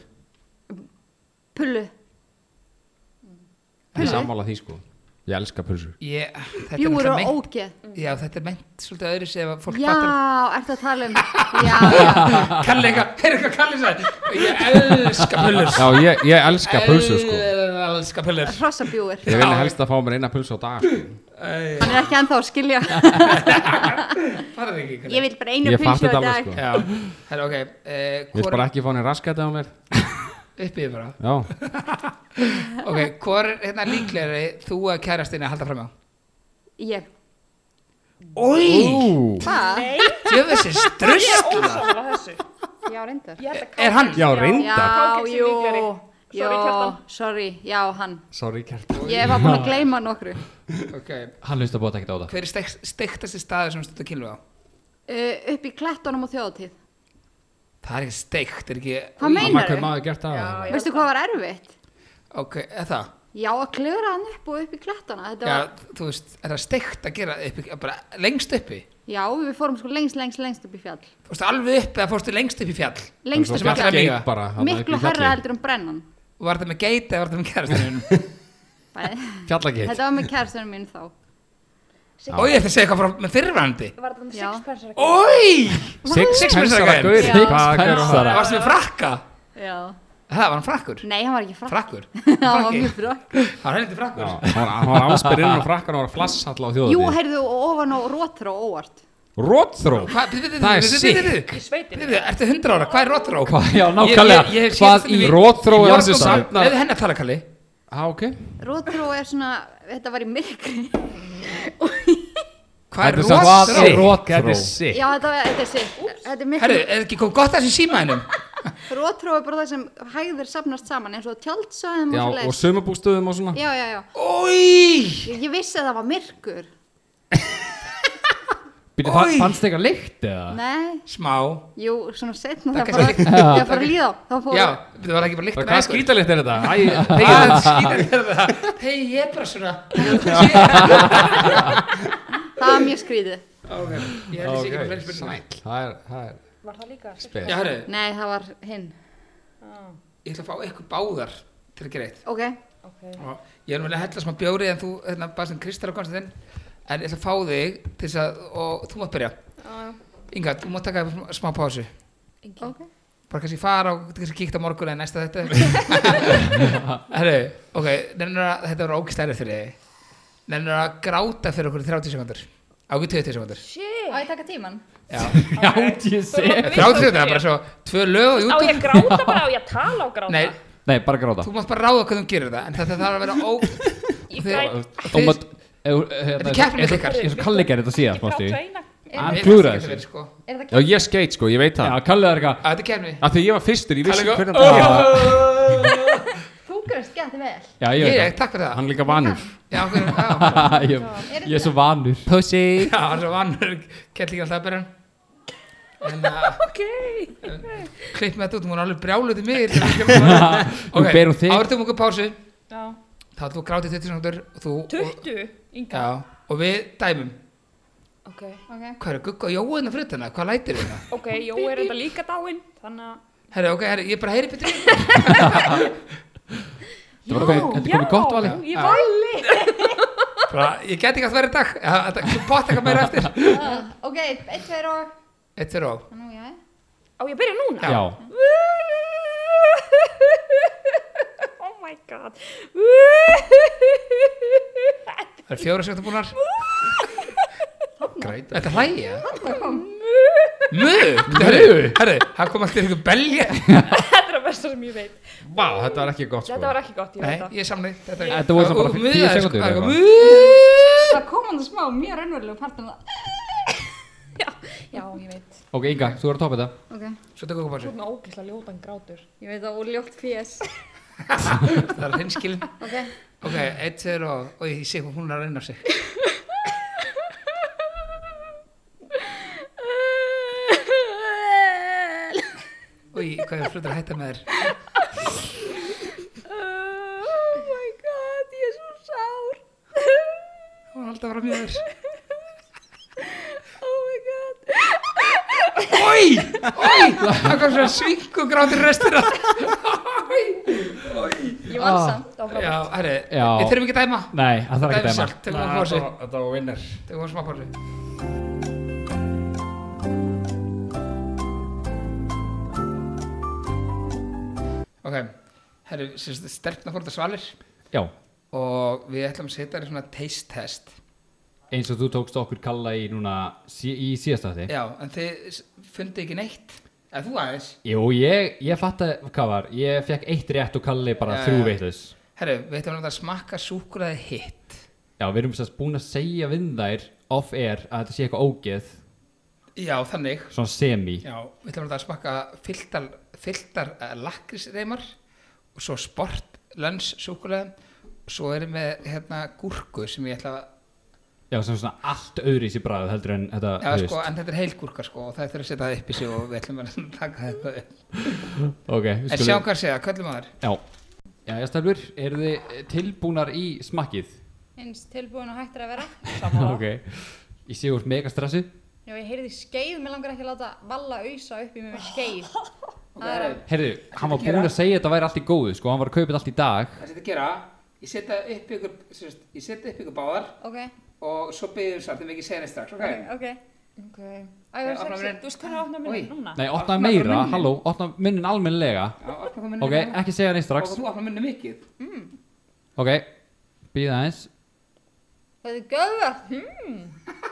[SPEAKER 1] Pullu
[SPEAKER 3] ég er
[SPEAKER 1] Pulsu.
[SPEAKER 3] sammála því sko Ég elska pulsur
[SPEAKER 2] Ég, þetta er
[SPEAKER 1] Bjúur
[SPEAKER 2] náttúrulega
[SPEAKER 1] og
[SPEAKER 2] meint
[SPEAKER 1] ógeð
[SPEAKER 2] Já, þetta er meint svolítið öðru sem að fólk
[SPEAKER 1] Já,
[SPEAKER 2] fattar
[SPEAKER 1] ertu að
[SPEAKER 2] (laughs)
[SPEAKER 1] tala um Já, já,
[SPEAKER 3] (laughs)
[SPEAKER 2] Kalli eitthvað, heyrðu hvað Kalli sagði Ég elska pullur
[SPEAKER 3] Já, ég, ég elska pulsur sko
[SPEAKER 2] Elska pullur
[SPEAKER 1] hrossabjúur
[SPEAKER 3] Ég vil helst að fá mér eina pulsu á dag sko.
[SPEAKER 2] Það
[SPEAKER 1] Hann er ekki ennþá að skilja
[SPEAKER 2] er ekki Kalli.
[SPEAKER 1] (laughs) Ég vil bara einu
[SPEAKER 3] Ég fatt
[SPEAKER 1] pilsu á
[SPEAKER 3] þetta
[SPEAKER 1] dag
[SPEAKER 3] alveg sko
[SPEAKER 2] Já, herra ok eh,
[SPEAKER 3] Ég vil bara ekki fá henni raskæti á mér
[SPEAKER 2] Uppið bara
[SPEAKER 3] Já,
[SPEAKER 2] Ok, hvað er hérna líklegri þú að kærastinni að halda fram á?
[SPEAKER 3] sko.
[SPEAKER 1] Ég,
[SPEAKER 2] Ói,
[SPEAKER 3] Ú,
[SPEAKER 1] hvað?
[SPEAKER 4] nei
[SPEAKER 2] djöfessi strusla
[SPEAKER 4] ósála þessu
[SPEAKER 1] Já, reyndar
[SPEAKER 4] Ég held að
[SPEAKER 2] Er hann?
[SPEAKER 4] Káki-
[SPEAKER 3] Já, reyndar.
[SPEAKER 1] Já,
[SPEAKER 4] Káki sé
[SPEAKER 1] jú,
[SPEAKER 4] líklegri.
[SPEAKER 1] jú,
[SPEAKER 4] Sorry, Kjartan.
[SPEAKER 1] sorry, já, hann
[SPEAKER 3] sorry Kjartan
[SPEAKER 1] Ég var búin að gleyma nokkru
[SPEAKER 2] Ok,
[SPEAKER 5] hann hlusta bóta ekkert á það
[SPEAKER 2] hver er steiktasti staður sem stundar kynlu á?
[SPEAKER 1] uh, Upp í klettunum og þjóðatíð
[SPEAKER 2] Það er ekki steikt, er ekki
[SPEAKER 1] Hvað
[SPEAKER 3] Mamma, hvað
[SPEAKER 1] meinarðu?
[SPEAKER 3] maður gert það?
[SPEAKER 4] Já, já.
[SPEAKER 1] Veistu hvað var erfitt?
[SPEAKER 2] Ok, eða það?
[SPEAKER 1] Já, að klöra hann upp og upp í klettana Þetta
[SPEAKER 2] Já,
[SPEAKER 1] var,
[SPEAKER 2] þú veist, er það steikt að gera upp, í- bara lengst uppi?
[SPEAKER 1] já, við fórum sko lengst, lengst, lengst upp í fjall
[SPEAKER 2] Fórstu alveg upp eða fórstu lengst upp í fjall?
[SPEAKER 1] Lengst
[SPEAKER 2] Það
[SPEAKER 1] upp
[SPEAKER 2] sem
[SPEAKER 1] í
[SPEAKER 2] allir
[SPEAKER 1] fjall
[SPEAKER 2] að
[SPEAKER 3] Geit
[SPEAKER 2] míga.
[SPEAKER 3] bara þarna upp í
[SPEAKER 1] Miklu
[SPEAKER 3] fjalli.
[SPEAKER 1] herra heldur um brennan
[SPEAKER 2] Var þetta með geit eða var þetta með kærastinni?
[SPEAKER 1] Bæði.
[SPEAKER 3] (laughs) Fjallageit
[SPEAKER 1] Þetta var með kærastunum mín þá
[SPEAKER 2] Ói, ég ætti að segja eitthvað frá með fyrirvænandi
[SPEAKER 4] var þetta
[SPEAKER 1] Já.
[SPEAKER 4] six pensar
[SPEAKER 2] Ói,
[SPEAKER 3] (laughs) Six
[SPEAKER 2] Six
[SPEAKER 3] pensar
[SPEAKER 2] pensara
[SPEAKER 3] að gauð
[SPEAKER 1] Já.
[SPEAKER 3] Hvað gerur það?
[SPEAKER 5] Pensara.
[SPEAKER 2] varstu með frakka?
[SPEAKER 1] Já
[SPEAKER 2] Það var hann frakkur?
[SPEAKER 1] Nei, hann var ekki frakk
[SPEAKER 2] Frakkur?
[SPEAKER 1] Hann var (laughs)
[SPEAKER 2] Frakki?
[SPEAKER 1] mjög frakk
[SPEAKER 2] Það var heldur
[SPEAKER 3] Já,
[SPEAKER 2] frakkur?
[SPEAKER 3] Hann hann var áspyrinn og frakkan og var flass alltaf á
[SPEAKER 1] Jú,
[SPEAKER 3] þjóðatíð
[SPEAKER 1] heyrðu, og ofan á rótþró og óvart
[SPEAKER 3] Rótþró
[SPEAKER 2] Hvað, við, við,
[SPEAKER 3] Það er
[SPEAKER 2] við, við, við, við,
[SPEAKER 4] í sveitinni
[SPEAKER 2] Byrðu, ertu 100 ára? Hvað er rótró?
[SPEAKER 5] Hvað- já, nákvæmlega.
[SPEAKER 2] Ég, ég, ég hef um séð
[SPEAKER 5] Hvað
[SPEAKER 2] þetta
[SPEAKER 5] í-
[SPEAKER 2] við-
[SPEAKER 3] Rotþró er
[SPEAKER 2] Ég var
[SPEAKER 3] ansi
[SPEAKER 2] sko
[SPEAKER 3] samt.
[SPEAKER 2] samt- Leyfðu henni að tala, Kalli
[SPEAKER 3] Já, ok
[SPEAKER 1] Rótþró er svona, þetta var í myrkri
[SPEAKER 2] Hvað er
[SPEAKER 3] samt-
[SPEAKER 5] Hvað
[SPEAKER 2] rótró?
[SPEAKER 5] er rótþró?
[SPEAKER 3] Þetta er sick
[SPEAKER 1] Já, þetta, var, þetta er sitt Þetta er
[SPEAKER 2] Herru,
[SPEAKER 1] myrkri
[SPEAKER 2] er ekki komið gott að þessi síma hennum?
[SPEAKER 1] Rótþró er bara það sem hægðir safnast saman eins og tjaldsöðum
[SPEAKER 3] Já,
[SPEAKER 1] og
[SPEAKER 3] og
[SPEAKER 1] svoleiðis.
[SPEAKER 3] sumabústöðum og svona
[SPEAKER 1] Já, já, já
[SPEAKER 2] Ói!
[SPEAKER 1] Ég, ég vissi að það var myrkur
[SPEAKER 5] Býtu,
[SPEAKER 2] Oj!
[SPEAKER 5] fannst eitthvað lykt eða?
[SPEAKER 1] Nei,
[SPEAKER 2] smá
[SPEAKER 1] jú, svona setna
[SPEAKER 2] Það
[SPEAKER 1] það fór að- það fór að líða á, þá fór
[SPEAKER 2] já, það var ekki bara líkt
[SPEAKER 3] Hvað skítalikt er þetta? Æ,
[SPEAKER 5] (laughs)
[SPEAKER 2] hei, skýta það hei, ég er bara svona ok,
[SPEAKER 1] það var mjög skrítið
[SPEAKER 2] ég held þessi ekki með fleiri spurningar
[SPEAKER 3] það er, það er
[SPEAKER 4] Var það líka?
[SPEAKER 3] spes.
[SPEAKER 2] já, herru,
[SPEAKER 1] Nei, það var hinn
[SPEAKER 2] ég ætla að fá eitthvað báðar til að gera eitt
[SPEAKER 1] Ok,
[SPEAKER 4] Ok.
[SPEAKER 2] Og ég er nú vel að hella smá bjóri en þú, hérna, bara sem Kristar og Konstantin en ég ætla að fá þig til þess að, og þú mátt byrja Inga, þú mátt taka smá- smá pásu
[SPEAKER 1] ok
[SPEAKER 2] bara kannski fara og kannski kíkta morgun eða næsta þetta
[SPEAKER 5] (laughs)
[SPEAKER 2] Herru, ok, nefnir að þetta var ógist ærið fyrir þig nefnir að gráta fyrir okkur í 30 sekundur ákveð 20 sekundur
[SPEAKER 4] Shit.
[SPEAKER 1] Á ég taka tíman?
[SPEAKER 2] Já,
[SPEAKER 5] Já, ég sé
[SPEAKER 2] 30 sekundur, það er bara svo tvö lög og
[SPEAKER 4] Á ég
[SPEAKER 2] YouTube
[SPEAKER 4] að gráta bara, á ég að tala og gráta?
[SPEAKER 2] Nei,
[SPEAKER 5] Nei, bara gráta
[SPEAKER 2] þú mátt bara ráða hvernig þú gerir það en þetta þarf að vera ó
[SPEAKER 4] Ég
[SPEAKER 2] Þið-
[SPEAKER 4] græt,
[SPEAKER 5] Og hérna, maður Þetta
[SPEAKER 2] er keppni milli ykkar.
[SPEAKER 5] Ég er svo kalli gerði þetta
[SPEAKER 4] ég
[SPEAKER 5] síðast,
[SPEAKER 4] gráta
[SPEAKER 5] mástu
[SPEAKER 4] eina.
[SPEAKER 5] Hann
[SPEAKER 2] Mér finnst
[SPEAKER 5] klúðraði
[SPEAKER 2] ekki
[SPEAKER 5] þessu.
[SPEAKER 2] verið, sko.
[SPEAKER 1] Er það
[SPEAKER 3] Já,
[SPEAKER 1] ekki?
[SPEAKER 3] ég skeit sko, ég veit
[SPEAKER 5] Já,
[SPEAKER 3] það.
[SPEAKER 5] kallið er eitthvað
[SPEAKER 2] Að Þetta er kemni
[SPEAKER 3] Af því ég var fyrstur, ég vissi
[SPEAKER 2] Kalli-
[SPEAKER 3] hvernig það var.
[SPEAKER 1] Þú gerist gett vel
[SPEAKER 5] Já, ég
[SPEAKER 2] Ég,
[SPEAKER 5] veit
[SPEAKER 2] takk fyrir það
[SPEAKER 3] Hann er líka vanur.
[SPEAKER 2] Já, okkur,
[SPEAKER 5] (laughs)
[SPEAKER 2] já,
[SPEAKER 5] það Ég ég er svo vanur Pussy
[SPEAKER 2] já, hann er svo vannur Kett líka alltaf að byrja En að
[SPEAKER 4] Ok.
[SPEAKER 2] klipp með þetta út, hún er alveg brjáluð til mig Þú
[SPEAKER 5] (laughs) Nú berum þig.
[SPEAKER 2] Ártum okkur pásu,
[SPEAKER 4] Já.
[SPEAKER 2] þá ætlum við grátið 20 sekundur og þú og,
[SPEAKER 4] 20,
[SPEAKER 2] já,
[SPEAKER 4] Inga.
[SPEAKER 2] og við dæmum
[SPEAKER 4] Ok.
[SPEAKER 1] Ok
[SPEAKER 2] Hvað er Gugga og Jói en að fyrir þarna? Hvað lætir við það?
[SPEAKER 4] Ok, Jó er enda líka dáinn, þannig að...
[SPEAKER 2] Herri, ok, herri, ég bara heyri betur í
[SPEAKER 5] Þetta var komið- þetta er komið gott, Vali
[SPEAKER 4] Já, ég vali.
[SPEAKER 2] Bara, Ég get ekki að það verið í dag Ja, Þetta er pott eitthvað meira eftir
[SPEAKER 5] (laughs)
[SPEAKER 1] Ah, Ok, eitt, tveir og
[SPEAKER 2] Eitt fyrir og
[SPEAKER 1] Nú, já
[SPEAKER 4] Á ég að byrja núna?
[SPEAKER 5] Já
[SPEAKER 4] (laughs) Oh my god. (laughs)
[SPEAKER 2] Það er fjóra sekundur búnar
[SPEAKER 3] Greit.
[SPEAKER 2] Þetta er hlægja
[SPEAKER 1] Það kom
[SPEAKER 2] Mö, herri, herri, það kom alltaf ykkur belja
[SPEAKER 4] Þetta er að versta sem ég veit.
[SPEAKER 3] Vá, þetta var ekki gott sko.
[SPEAKER 4] Þetta var ekki gott, ég
[SPEAKER 2] Nei,
[SPEAKER 4] veit það.
[SPEAKER 2] ég samni Þetta
[SPEAKER 5] Þetta voru samt bara
[SPEAKER 2] Og
[SPEAKER 5] 10
[SPEAKER 2] muðaði, sko,
[SPEAKER 5] sekúndur
[SPEAKER 2] það
[SPEAKER 5] eða
[SPEAKER 2] kom-
[SPEAKER 5] eitthvað.
[SPEAKER 2] Muð.
[SPEAKER 1] Það kom hann það smá, mjög raunverulega partur um það (laughs)
[SPEAKER 4] Já, ég veit.
[SPEAKER 5] Ok, Inga, þú er að topa þetta
[SPEAKER 1] Ok,
[SPEAKER 2] Svo tökum við
[SPEAKER 4] Þú
[SPEAKER 2] pásu
[SPEAKER 4] erum ógæslega ljótan grátur.
[SPEAKER 1] ég veit að óljótt PS
[SPEAKER 2] Það er hinskilin
[SPEAKER 1] Ok,
[SPEAKER 2] Ok, eitt, tveir og, og ég sé hvað hún er að reyna á sig Új, hvað ég er fljótur að hætta með þér
[SPEAKER 4] Oh my god, ég er svo sár.
[SPEAKER 2] Hún er alltaf að vera mjög þér
[SPEAKER 4] Oh my god.
[SPEAKER 2] Új, új, það kom svona svink og grátur restina Új,
[SPEAKER 1] ég vann
[SPEAKER 5] Ah.
[SPEAKER 1] samt
[SPEAKER 4] Það var
[SPEAKER 2] já, herri,
[SPEAKER 5] Já.
[SPEAKER 2] við þurfum ekki að dæma
[SPEAKER 5] Nei, það þarf ekki að dæma Ah,
[SPEAKER 2] sjálft, tökum við pásu
[SPEAKER 3] Þetta var vinnar.
[SPEAKER 2] Tökum við smá pásu Ok, herri, stelpna fór þetta svalir
[SPEAKER 5] Já,
[SPEAKER 2] og við ætlum að setja þér svona taste test
[SPEAKER 5] eins og þú tókst okkur kalla í núna sí- Í síðasta þetta
[SPEAKER 2] Já, en þið s- fundu ekki neitt eða þú aðeins
[SPEAKER 5] Jú, ég, ég fatt að, hvað var Ég fekk eitt rétt og kalli bara
[SPEAKER 2] Já,
[SPEAKER 5] þrjú
[SPEAKER 2] já.
[SPEAKER 5] veitlaus
[SPEAKER 2] Herru, við ætlum að láta smakka súkulaði hitt
[SPEAKER 5] Já, við erum sérst búin að segja við þær off-air að þetta sé eitthvað ógeð
[SPEAKER 2] Já, þannig
[SPEAKER 5] Svona semi
[SPEAKER 2] Já, við ætlum að láta smakka fylltar, fylltar uh, lakrísreimar og svo sportlöns súkulaði og svo erum við hérna gúrku sem ég ætla að
[SPEAKER 5] Já, sem svona allt öðru í sér bræðu heldur en þetta
[SPEAKER 2] Já,
[SPEAKER 5] Ah, þú
[SPEAKER 2] sko,
[SPEAKER 5] veist.
[SPEAKER 2] en þetta er heilgúrka sko og það þurfum að setja það upp í sig og við ætlum að (laughs) taka þetta upp
[SPEAKER 5] Ok, við
[SPEAKER 2] En sjá hvað segja, köllum að þér
[SPEAKER 5] Já, já, já staflur, eru þið eh, tilbúnar í smakkið?
[SPEAKER 1] Eins tilbúin og hættir að vera
[SPEAKER 5] (laughs) ok Ég sé úr mega stressu
[SPEAKER 1] Já, ég heyrði skeið, mér langar ekki að láta valla ausa upp í mig með skeið Það er
[SPEAKER 5] Herðu, hann var búinn að segja að þetta væri allt í góðu sko, hann var að kaupa þetta allt í dag
[SPEAKER 2] Það setja að gera, ég setja upp ykkur, sérst, ég setja upp ykkur báðar
[SPEAKER 1] Ok,
[SPEAKER 2] og svo byggjum samt, um þeim ekki segja neitt strax, ok?
[SPEAKER 1] ok
[SPEAKER 4] Ok.
[SPEAKER 1] Á, ég var
[SPEAKER 2] Opna
[SPEAKER 1] sexy
[SPEAKER 2] munninn.
[SPEAKER 4] Þú veist hvernig að opna
[SPEAKER 2] Oj.
[SPEAKER 4] minni núna?
[SPEAKER 5] Nei,
[SPEAKER 2] Opnaðu
[SPEAKER 5] opna meira,
[SPEAKER 2] munnin.
[SPEAKER 5] halló, opna munnin almennilega
[SPEAKER 2] Já, opna þú minni
[SPEAKER 5] Ok, ekki segja neitt
[SPEAKER 2] strax
[SPEAKER 5] strax
[SPEAKER 2] Og þú opna minni mikið
[SPEAKER 5] Ok, býða eins
[SPEAKER 1] Það er göðvart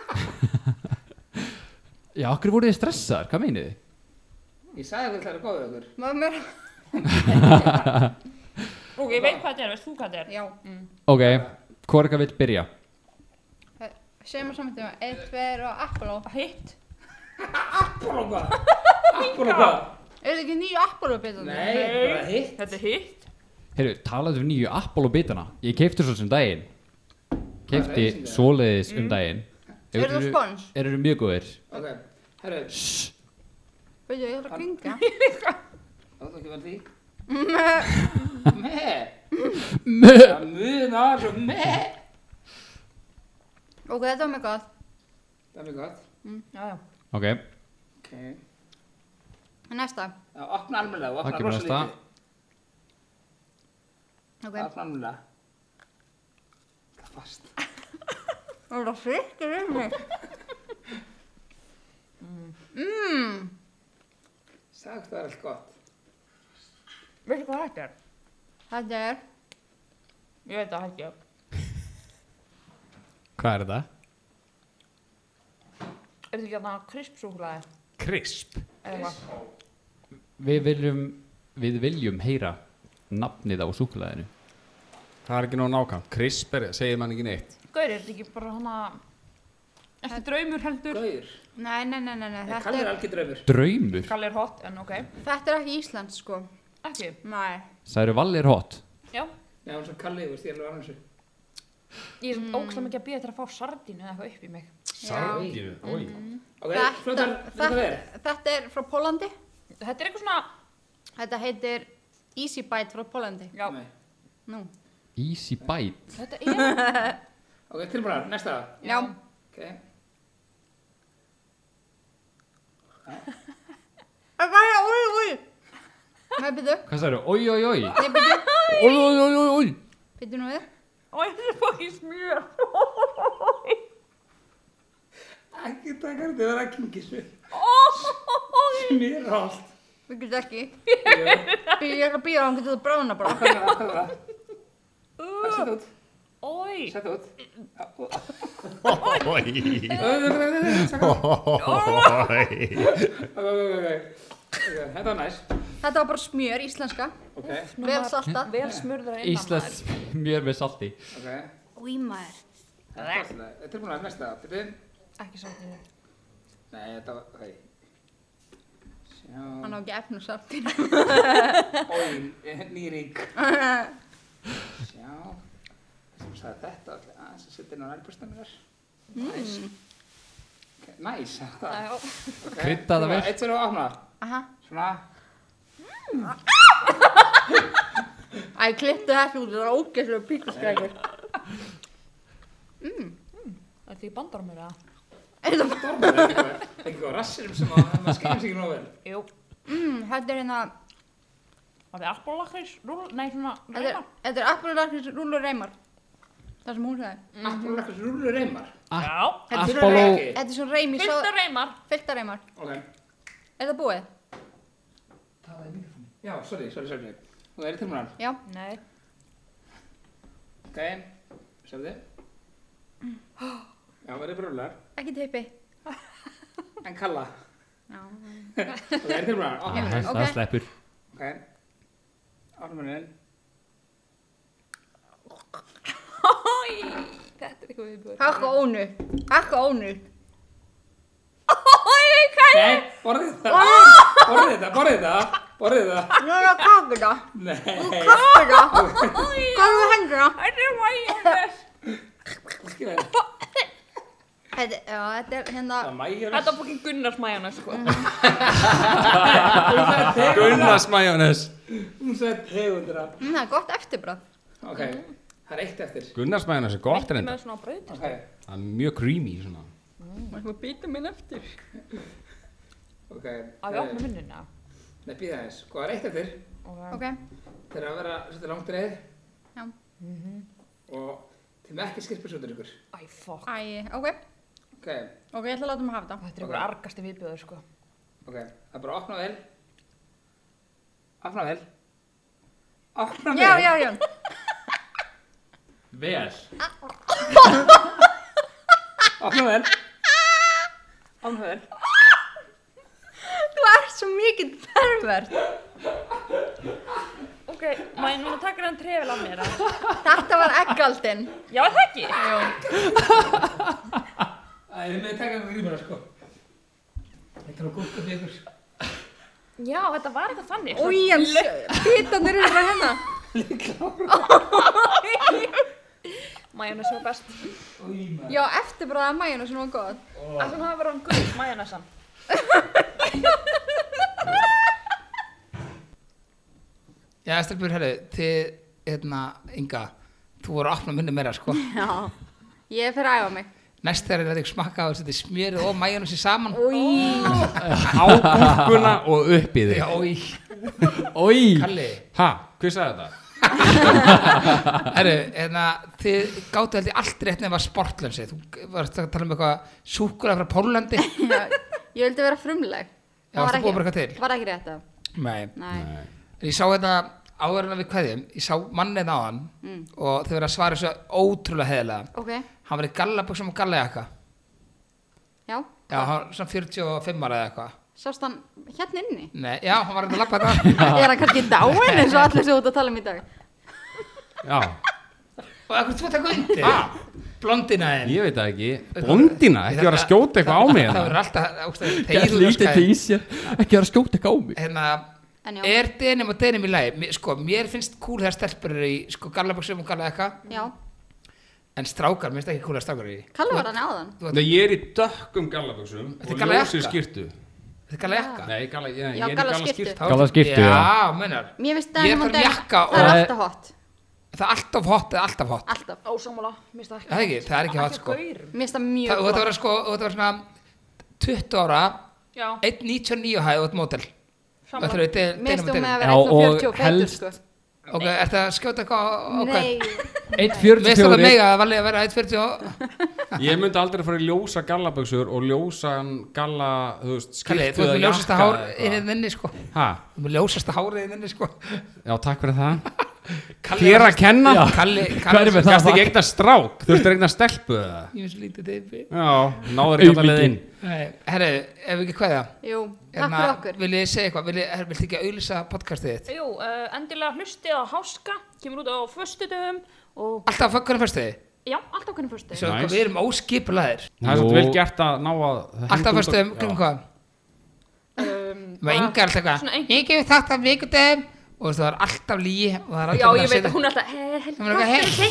[SPEAKER 5] Já, okkur voruð þið stressaðar, hvað meinið þið?
[SPEAKER 2] Ég sagði að það er góðið ykkur
[SPEAKER 1] Maður mér
[SPEAKER 4] Ok, ég veit hvað þetta er, veist þú hvað þetta er?
[SPEAKER 1] Já,
[SPEAKER 5] Ok, hvor eitthvað vill byrja?
[SPEAKER 1] segjum að saman tíma Eitt, tveir og Apollo
[SPEAKER 4] Hitt?
[SPEAKER 2] Apollo hvað? Apollo hvað?
[SPEAKER 1] Er þetta ekki nýju Apollo bitandi?
[SPEAKER 2] Nei, þetta er bara hitt
[SPEAKER 4] Þetta er hitt?
[SPEAKER 5] Herru, talaðu um nýju Apollo bitana Ég keipti svo sem daginn
[SPEAKER 2] Það er Mm.
[SPEAKER 5] Keipti
[SPEAKER 2] leysingar.
[SPEAKER 5] svoleiðis um daginn Ef
[SPEAKER 1] Eru það
[SPEAKER 5] þeir
[SPEAKER 1] spons?
[SPEAKER 5] Eru þeir mjög góðir
[SPEAKER 2] Ok, herru,
[SPEAKER 1] Veitu, ég ætla að kringa.
[SPEAKER 2] (laughs) áttu ekki verið því? Meh. Það munar svo meh.
[SPEAKER 1] Ok, þetta var mjög gott.
[SPEAKER 2] Það er mjög gott.
[SPEAKER 1] Mm, já, já.
[SPEAKER 5] Ok,
[SPEAKER 2] Ok.
[SPEAKER 1] Næsta.
[SPEAKER 2] Já, opna almennilega,
[SPEAKER 5] það
[SPEAKER 2] opna
[SPEAKER 5] kemur
[SPEAKER 2] rosa
[SPEAKER 5] næsta
[SPEAKER 2] lítið.
[SPEAKER 1] Ok.
[SPEAKER 2] Opna almennilega. Það er fast.
[SPEAKER 1] Það var fyrkir um mig. Mmm.
[SPEAKER 2] Sagt það er allt gott.
[SPEAKER 4] Veistu hvað þetta er?
[SPEAKER 1] Þetta er,
[SPEAKER 4] Ég veit það ekki.
[SPEAKER 5] Hvað er þetta?
[SPEAKER 4] Er þetta ekki þarna krispsúklaði?
[SPEAKER 3] Krisp
[SPEAKER 4] Eða hvað?
[SPEAKER 5] Við viljum, við viljum heyra nafnið á súkulæðinu
[SPEAKER 3] Það er ekki nóg nákvæmt Krisp er, segir mann ekki neitt
[SPEAKER 4] Gaur, er þetta ekki bara hana... Ekki draumur heldur?
[SPEAKER 2] Gauður.
[SPEAKER 1] nei, nei, nei, nei, nei. Þetta,
[SPEAKER 2] Kallir
[SPEAKER 1] er,
[SPEAKER 2] algjör draumur.
[SPEAKER 5] Draumur
[SPEAKER 4] Kalli er hot, en ok.
[SPEAKER 1] þetta er ekki Ísland, sko.
[SPEAKER 4] Ekki.
[SPEAKER 1] Nei.
[SPEAKER 5] Særu Valli er hot
[SPEAKER 4] Já.
[SPEAKER 2] Já, hún er svo Kalli, þú veist, ég er alveg annars.
[SPEAKER 4] Ég er mm. ógslag mikið að býja til að fá sardínu eða eitthvað upp í mig.
[SPEAKER 3] Sardínu, oi
[SPEAKER 2] Ok,
[SPEAKER 1] Þetta,
[SPEAKER 2] flottar, flottar
[SPEAKER 1] þetta,
[SPEAKER 2] verið.
[SPEAKER 1] þetta er frá Pólandi.
[SPEAKER 4] Þetta er eitthvað svona...
[SPEAKER 1] Þetta heitir Easy Bite frá Pólandi.
[SPEAKER 4] Já.
[SPEAKER 2] Nei.
[SPEAKER 1] Nú.
[SPEAKER 5] Easy bite
[SPEAKER 4] Þetta er...
[SPEAKER 2] Ok, tilbúinar, næsta.
[SPEAKER 1] Já.
[SPEAKER 2] Ok.
[SPEAKER 1] Það var það, úi, úi. Nei, byrju.
[SPEAKER 5] Hvað særu? Oi, oi, oi
[SPEAKER 1] Nei, byrju.
[SPEAKER 5] Oi, oi, oi, oi, oi
[SPEAKER 1] Byrju nú við.
[SPEAKER 4] Ó, þetta er fokkið smjör.
[SPEAKER 2] Ekki taka þetta, það er að kyngisur.
[SPEAKER 4] Ó,
[SPEAKER 2] Mér er allt.
[SPEAKER 1] Við getum ekki.
[SPEAKER 2] Jú.
[SPEAKER 1] Byrju, ég ætla að býra, hann getur þú brána bara.
[SPEAKER 2] Hvað er það? Sett út,
[SPEAKER 4] Ói.
[SPEAKER 2] sett út.
[SPEAKER 6] Oi.
[SPEAKER 2] Ok,
[SPEAKER 6] Oi.
[SPEAKER 2] ok, ok, ok. Þetta var næst.
[SPEAKER 1] Þetta var bara smjör, íslenska.
[SPEAKER 2] Ok,
[SPEAKER 1] Vel saltað.
[SPEAKER 4] Vel smurður að innan
[SPEAKER 5] Íslands mjög með salti
[SPEAKER 2] ok.
[SPEAKER 1] Úi, maður.
[SPEAKER 2] Þetta var svona. Þetta er búin að næsta. Byrju.
[SPEAKER 4] maður. Ekki sardínu.
[SPEAKER 2] Nei, þetta var, ok. Sjá.
[SPEAKER 1] Hann á ekki efnu saltið. (laughs)
[SPEAKER 2] Ói, nýrík. eh, Sjá. Þú sagði þetta alltaf. Aðeins að setja inn á nærbúrstum mér. Næs.
[SPEAKER 1] Mm.
[SPEAKER 2] Ok, Næs, þetta.
[SPEAKER 4] Já.
[SPEAKER 2] Ok.
[SPEAKER 5] Krydda það vel.
[SPEAKER 2] Eitt sér og opna.
[SPEAKER 1] Aha.
[SPEAKER 2] Svona.
[SPEAKER 1] Æ, klipptu þetta út, það er ógeðslega píkaskrækur.
[SPEAKER 4] Þetta er í bandarmur eða?
[SPEAKER 2] Stormur er eitthvað. Eitthvað rassirum sem að maður skilur sig ekki nóg vel.
[SPEAKER 4] Jú.
[SPEAKER 1] Mm, þetta er hérna,
[SPEAKER 4] Það er appalakrís, rúl, nei svona
[SPEAKER 1] þetta er,
[SPEAKER 4] reyna.
[SPEAKER 1] þetta er Appalakrís rúlu reymar. Það sem hún sagði.
[SPEAKER 2] Appalakrís rúlu reymar.
[SPEAKER 4] Já.
[SPEAKER 1] Þetta er
[SPEAKER 5] Apollo-
[SPEAKER 1] svona- Þetta er svona reym í svo...
[SPEAKER 4] Fyrsta reymar.
[SPEAKER 1] Fylta reymar.
[SPEAKER 2] Ok.
[SPEAKER 1] Er það búið?
[SPEAKER 2] Já, sorry, sorry, sorry. Ok, er tilmúnar.
[SPEAKER 1] Já.
[SPEAKER 4] Nei.
[SPEAKER 2] Ok, sefðu þið. Já, verður brúlar.
[SPEAKER 1] Ekki tippi.
[SPEAKER 2] En kalla. (laughs)
[SPEAKER 1] Já.
[SPEAKER 2] Ok, er tilmúnar.
[SPEAKER 5] Ah,
[SPEAKER 2] Ok,
[SPEAKER 5] Það
[SPEAKER 1] Ok.
[SPEAKER 5] það sleppur
[SPEAKER 2] ok. Ármunnin.
[SPEAKER 4] Ói. Þetta er eitthvað viðbjörn.
[SPEAKER 1] Hakka ónu. Hakka ónu.
[SPEAKER 4] Ói, hvað er?
[SPEAKER 2] Nei, borðið þetta. Borðið þetta, borðið þetta. Borðið þetta.
[SPEAKER 1] Nú er það kakuna.
[SPEAKER 2] Nei,
[SPEAKER 1] Kakuna.
[SPEAKER 4] Ói.
[SPEAKER 1] Kakuna hendina.
[SPEAKER 4] Þetta er mæjur.
[SPEAKER 2] skilja þetta.
[SPEAKER 1] Þetta, já, þetta er hérna...
[SPEAKER 2] Það mæjur.
[SPEAKER 4] Þetta er fokkin Gunnars mæjana sko.
[SPEAKER 2] (laughs)
[SPEAKER 3] Gunnars majónes
[SPEAKER 2] Hún sagði tegundra.
[SPEAKER 1] Mm, það er gott eftirbröð.
[SPEAKER 2] Ok, það er eitt eftir.
[SPEAKER 3] Gunnars majónes er gott reynda
[SPEAKER 4] Með svona brauð.
[SPEAKER 2] Ok,
[SPEAKER 3] Það er mjög creamy svona
[SPEAKER 4] Má býta minn eftir.
[SPEAKER 2] ok.
[SPEAKER 4] Á ég opna minnina.
[SPEAKER 2] Nei, býða þess. Hvað er eitt eftir?
[SPEAKER 1] Ok.
[SPEAKER 2] Þeir eru að vera svolítið langt reið.
[SPEAKER 1] Já.
[SPEAKER 2] Og þeim ekki skilpur svolítið ykkur.
[SPEAKER 4] Æ, fokk.
[SPEAKER 1] Æ, ok.
[SPEAKER 2] Ok,
[SPEAKER 1] Ok, ég ætla að láta mig hafa þetta.
[SPEAKER 4] Þetta er eitthvað argasti viðbjörður sko.
[SPEAKER 2] ok. Það er bara að opna vel. Opna vel. Opna vel.
[SPEAKER 1] Já, já, já.
[SPEAKER 5] Vel
[SPEAKER 2] Opna vel. Opna vel.
[SPEAKER 1] (laughs) Þú ert svo mikið pervert.
[SPEAKER 4] Ok, má ég núna taka hann trefil af mér? eða?
[SPEAKER 1] Þetta var eggaldin.
[SPEAKER 4] Já, er það ekki?
[SPEAKER 1] Jú.
[SPEAKER 2] Það er með að taka ykkur grímur, sko. Þetta er að gústa fyrir ykkur.
[SPEAKER 4] Já, þetta var eitthvað þannig. sko.
[SPEAKER 1] Új, hann s- bitarnir eru bara hérna.
[SPEAKER 4] Má Majónes var best.
[SPEAKER 1] Já, eftirbræða mæjuna sem var gott.
[SPEAKER 4] Alltaf hann hafa verið hann gull, majónesan.
[SPEAKER 2] Já, stelpur, herri, þið, hérna, Inga, þú voru að opna minni meira, sko.
[SPEAKER 1] Já. Ég fer að æfa mig.
[SPEAKER 2] Næst þegar þið ekki smakka á þess að þið smjöru og mæjónu sér saman.
[SPEAKER 1] Új.
[SPEAKER 3] Á gúrkuna og upp í
[SPEAKER 2] Já,
[SPEAKER 3] þig
[SPEAKER 2] í,
[SPEAKER 5] Ói,
[SPEAKER 2] Kalli.
[SPEAKER 3] Ha, hvað sagði þetta?
[SPEAKER 2] Herri, hérna, þið gáttu held ég allt rétt nema sportlönsi. Þú varst að tala um eitthvað súkulega frá Pólandi.
[SPEAKER 1] Já, ég vildi vera frumleg.
[SPEAKER 2] Já, varstu búin að breyka til?
[SPEAKER 1] Var ekki rétt að.
[SPEAKER 2] Nei.
[SPEAKER 1] Nei.
[SPEAKER 2] En ég sá þetta áður en að við kveðjum, ég sá mannið á hann og þau verið að svara þessu ótrúlega heðilega.
[SPEAKER 1] Mm. Ok,
[SPEAKER 2] Hann var í gallabuxum og gallajakka.
[SPEAKER 1] já.
[SPEAKER 2] Já, hann var svona 45 ára eða eitthvað.
[SPEAKER 1] Sást hann hérna inni?
[SPEAKER 2] Nei, já, hann var hérna eitthvað að lappa þetta.
[SPEAKER 1] Er hann kannski dáin eins og allir sem út að tala um í dag?
[SPEAKER 3] Já,
[SPEAKER 2] Og eitthvað þú tekur undir. Ha? Blondina þinn.
[SPEAKER 3] ég veit það ekki Bondina, ekki vera að skjóta eitthvað á mig
[SPEAKER 2] Það
[SPEAKER 3] hérna.
[SPEAKER 2] verður alltaf, ástæður,
[SPEAKER 5] ég
[SPEAKER 2] tegir
[SPEAKER 5] lítið til í sér Ekki vera að skjóta ekki á mig
[SPEAKER 2] Hérna,
[SPEAKER 1] En já,
[SPEAKER 2] er denim og denim í lagi? Mér, sko, mér finnst kúl þegar stelpur eru í sko, gallabuxum og gallajakka,
[SPEAKER 1] já.
[SPEAKER 2] en strákar, mér finnst ekki kúl þegar strákar eru í.
[SPEAKER 1] Kalli var hann áðan.
[SPEAKER 3] Nei, ég er í dökkum gallabuxum
[SPEAKER 2] Þetta er
[SPEAKER 3] og
[SPEAKER 2] gallajakka.
[SPEAKER 3] ljósir skirtu
[SPEAKER 2] Þetta er gallajakka.
[SPEAKER 3] Nei, galla, ég,
[SPEAKER 1] Já,
[SPEAKER 3] ég er í
[SPEAKER 1] gallaskyrtu.
[SPEAKER 3] gallaskirtu
[SPEAKER 5] Gallaskyrtu,
[SPEAKER 2] já.
[SPEAKER 5] já.
[SPEAKER 2] Já, meinar.
[SPEAKER 1] Mér finnst
[SPEAKER 2] Ég
[SPEAKER 1] Diamond
[SPEAKER 2] þarf jakka
[SPEAKER 1] það er
[SPEAKER 5] og-
[SPEAKER 1] alltaf hot.
[SPEAKER 2] Það er alltaf hot eða alltaf hot.
[SPEAKER 1] Alltaf.
[SPEAKER 4] Ósámála, mér finnst það ekki.
[SPEAKER 2] Það er ekki, það er ekki hot,
[SPEAKER 4] að
[SPEAKER 2] sko.
[SPEAKER 4] gaurum.
[SPEAKER 1] Mér finnst það
[SPEAKER 2] Það-
[SPEAKER 1] mjög
[SPEAKER 2] Þú þetta verður sko, þú þetta verður svona 20 ára,
[SPEAKER 4] Já,
[SPEAKER 2] 1.99 hæð og eitt mótel. Það
[SPEAKER 4] sammála.
[SPEAKER 2] þurfið denim
[SPEAKER 1] Mér finnst þú
[SPEAKER 2] og
[SPEAKER 1] með
[SPEAKER 2] denim.
[SPEAKER 1] að
[SPEAKER 5] Já,
[SPEAKER 1] vera 1.40
[SPEAKER 5] og
[SPEAKER 1] og feitur,
[SPEAKER 5] helst-
[SPEAKER 1] sko.
[SPEAKER 2] Ok, ertu að skjóta eitthvað á- á hvern?
[SPEAKER 1] Nei,
[SPEAKER 2] Mér finnst það
[SPEAKER 5] 1.44
[SPEAKER 2] mega að valið að vera 1.40 og...
[SPEAKER 3] (laughs) Ég myndi aldrei fara í ljósa gallabuxur og ljósan galla, þú veist,
[SPEAKER 2] Kalli,
[SPEAKER 3] skirtu
[SPEAKER 2] þú ert
[SPEAKER 3] eða
[SPEAKER 2] með ljósasta
[SPEAKER 3] jakka
[SPEAKER 2] hár
[SPEAKER 3] eða eitthvað.
[SPEAKER 2] innið þinni, sko. Þú
[SPEAKER 3] Ha,
[SPEAKER 2] ert með ljósasta hárið innið,
[SPEAKER 3] (laughs)
[SPEAKER 2] sko.
[SPEAKER 3] já, takk fyrir það
[SPEAKER 2] Kalli
[SPEAKER 3] Þér
[SPEAKER 2] var-
[SPEAKER 3] að kenna
[SPEAKER 5] Já.
[SPEAKER 2] Kalli,
[SPEAKER 5] Hvað er
[SPEAKER 2] Kalli,
[SPEAKER 5] með það?
[SPEAKER 3] Gast ekki eignar strák, þú ert eignar stelpu eða?
[SPEAKER 2] ég finnst lítið teipi.
[SPEAKER 3] Já, náður ekki alltaf
[SPEAKER 5] Auðmýkin.
[SPEAKER 3] leiðin
[SPEAKER 2] Herru, ef við ekki hvaða?
[SPEAKER 1] jú,
[SPEAKER 2] Hérna-
[SPEAKER 1] takk fyrir okkur.
[SPEAKER 2] Vil ég segja eitthvað? Vil ég, vilt ekki auðlýsa podcastið þitt?
[SPEAKER 4] Jú, uh, endilega hlustið á Háska, kemur út á föstudöfum og
[SPEAKER 2] Alltaf að hvernig fyrstu þið?
[SPEAKER 4] já, alltaf hvernig föstudöfum.
[SPEAKER 2] Svo
[SPEAKER 3] Nice.
[SPEAKER 2] nice. við erum óskipulaðir.
[SPEAKER 3] Það er
[SPEAKER 5] Jú.
[SPEAKER 3] svolítið vel gert að ná að
[SPEAKER 2] Alltaf fyrstu um, kring hvað?
[SPEAKER 4] Um,
[SPEAKER 2] Maður
[SPEAKER 4] bara-
[SPEAKER 2] yngar alltaf eitthvað.
[SPEAKER 4] svona ein-
[SPEAKER 2] Ég gefi þátt af vikudegum og það var alltaf líi og það var
[SPEAKER 4] Já,
[SPEAKER 2] alltaf
[SPEAKER 4] ég veit að hún er alltaf, hei, hei,
[SPEAKER 2] Það var eitthvað, herri,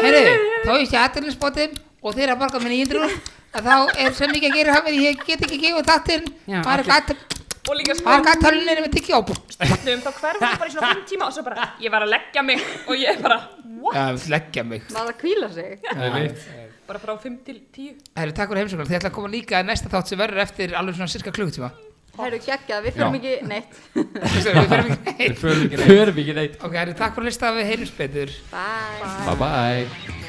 [SPEAKER 2] herri, þá er ég aðtilinsbótin og þeir að borga með 900 að þá er svo mikið að gera hafið, ég get ekki gefið þáttinn, bara gætt
[SPEAKER 4] og líka
[SPEAKER 2] bara
[SPEAKER 4] spöndum,
[SPEAKER 2] gætt tölunir með tyggjó
[SPEAKER 4] um þá hverfum við bara í svona 5 tíma og svo bara, ég var að leggja mig og ég er bara, what?
[SPEAKER 2] Já, leggja mig
[SPEAKER 1] Maður að kvíla sig.
[SPEAKER 4] Bara frá 5 til 10.
[SPEAKER 2] Herri, takk fyrir heimsóknar, þið ætla að koma líka í næsta þátt sem verður eftir alveg svona cirka (laughs) klukkutíma
[SPEAKER 1] Herru, geggjað, við fyrir
[SPEAKER 3] Já.
[SPEAKER 1] mikið, neitt.
[SPEAKER 2] Þessi, við förum ekki neitt.
[SPEAKER 3] Förum ekki neitt
[SPEAKER 5] Förum ekki neitt
[SPEAKER 2] Ok, herri, takk fyrir að lista við heimsbeitur
[SPEAKER 1] Bye.
[SPEAKER 5] Bye bye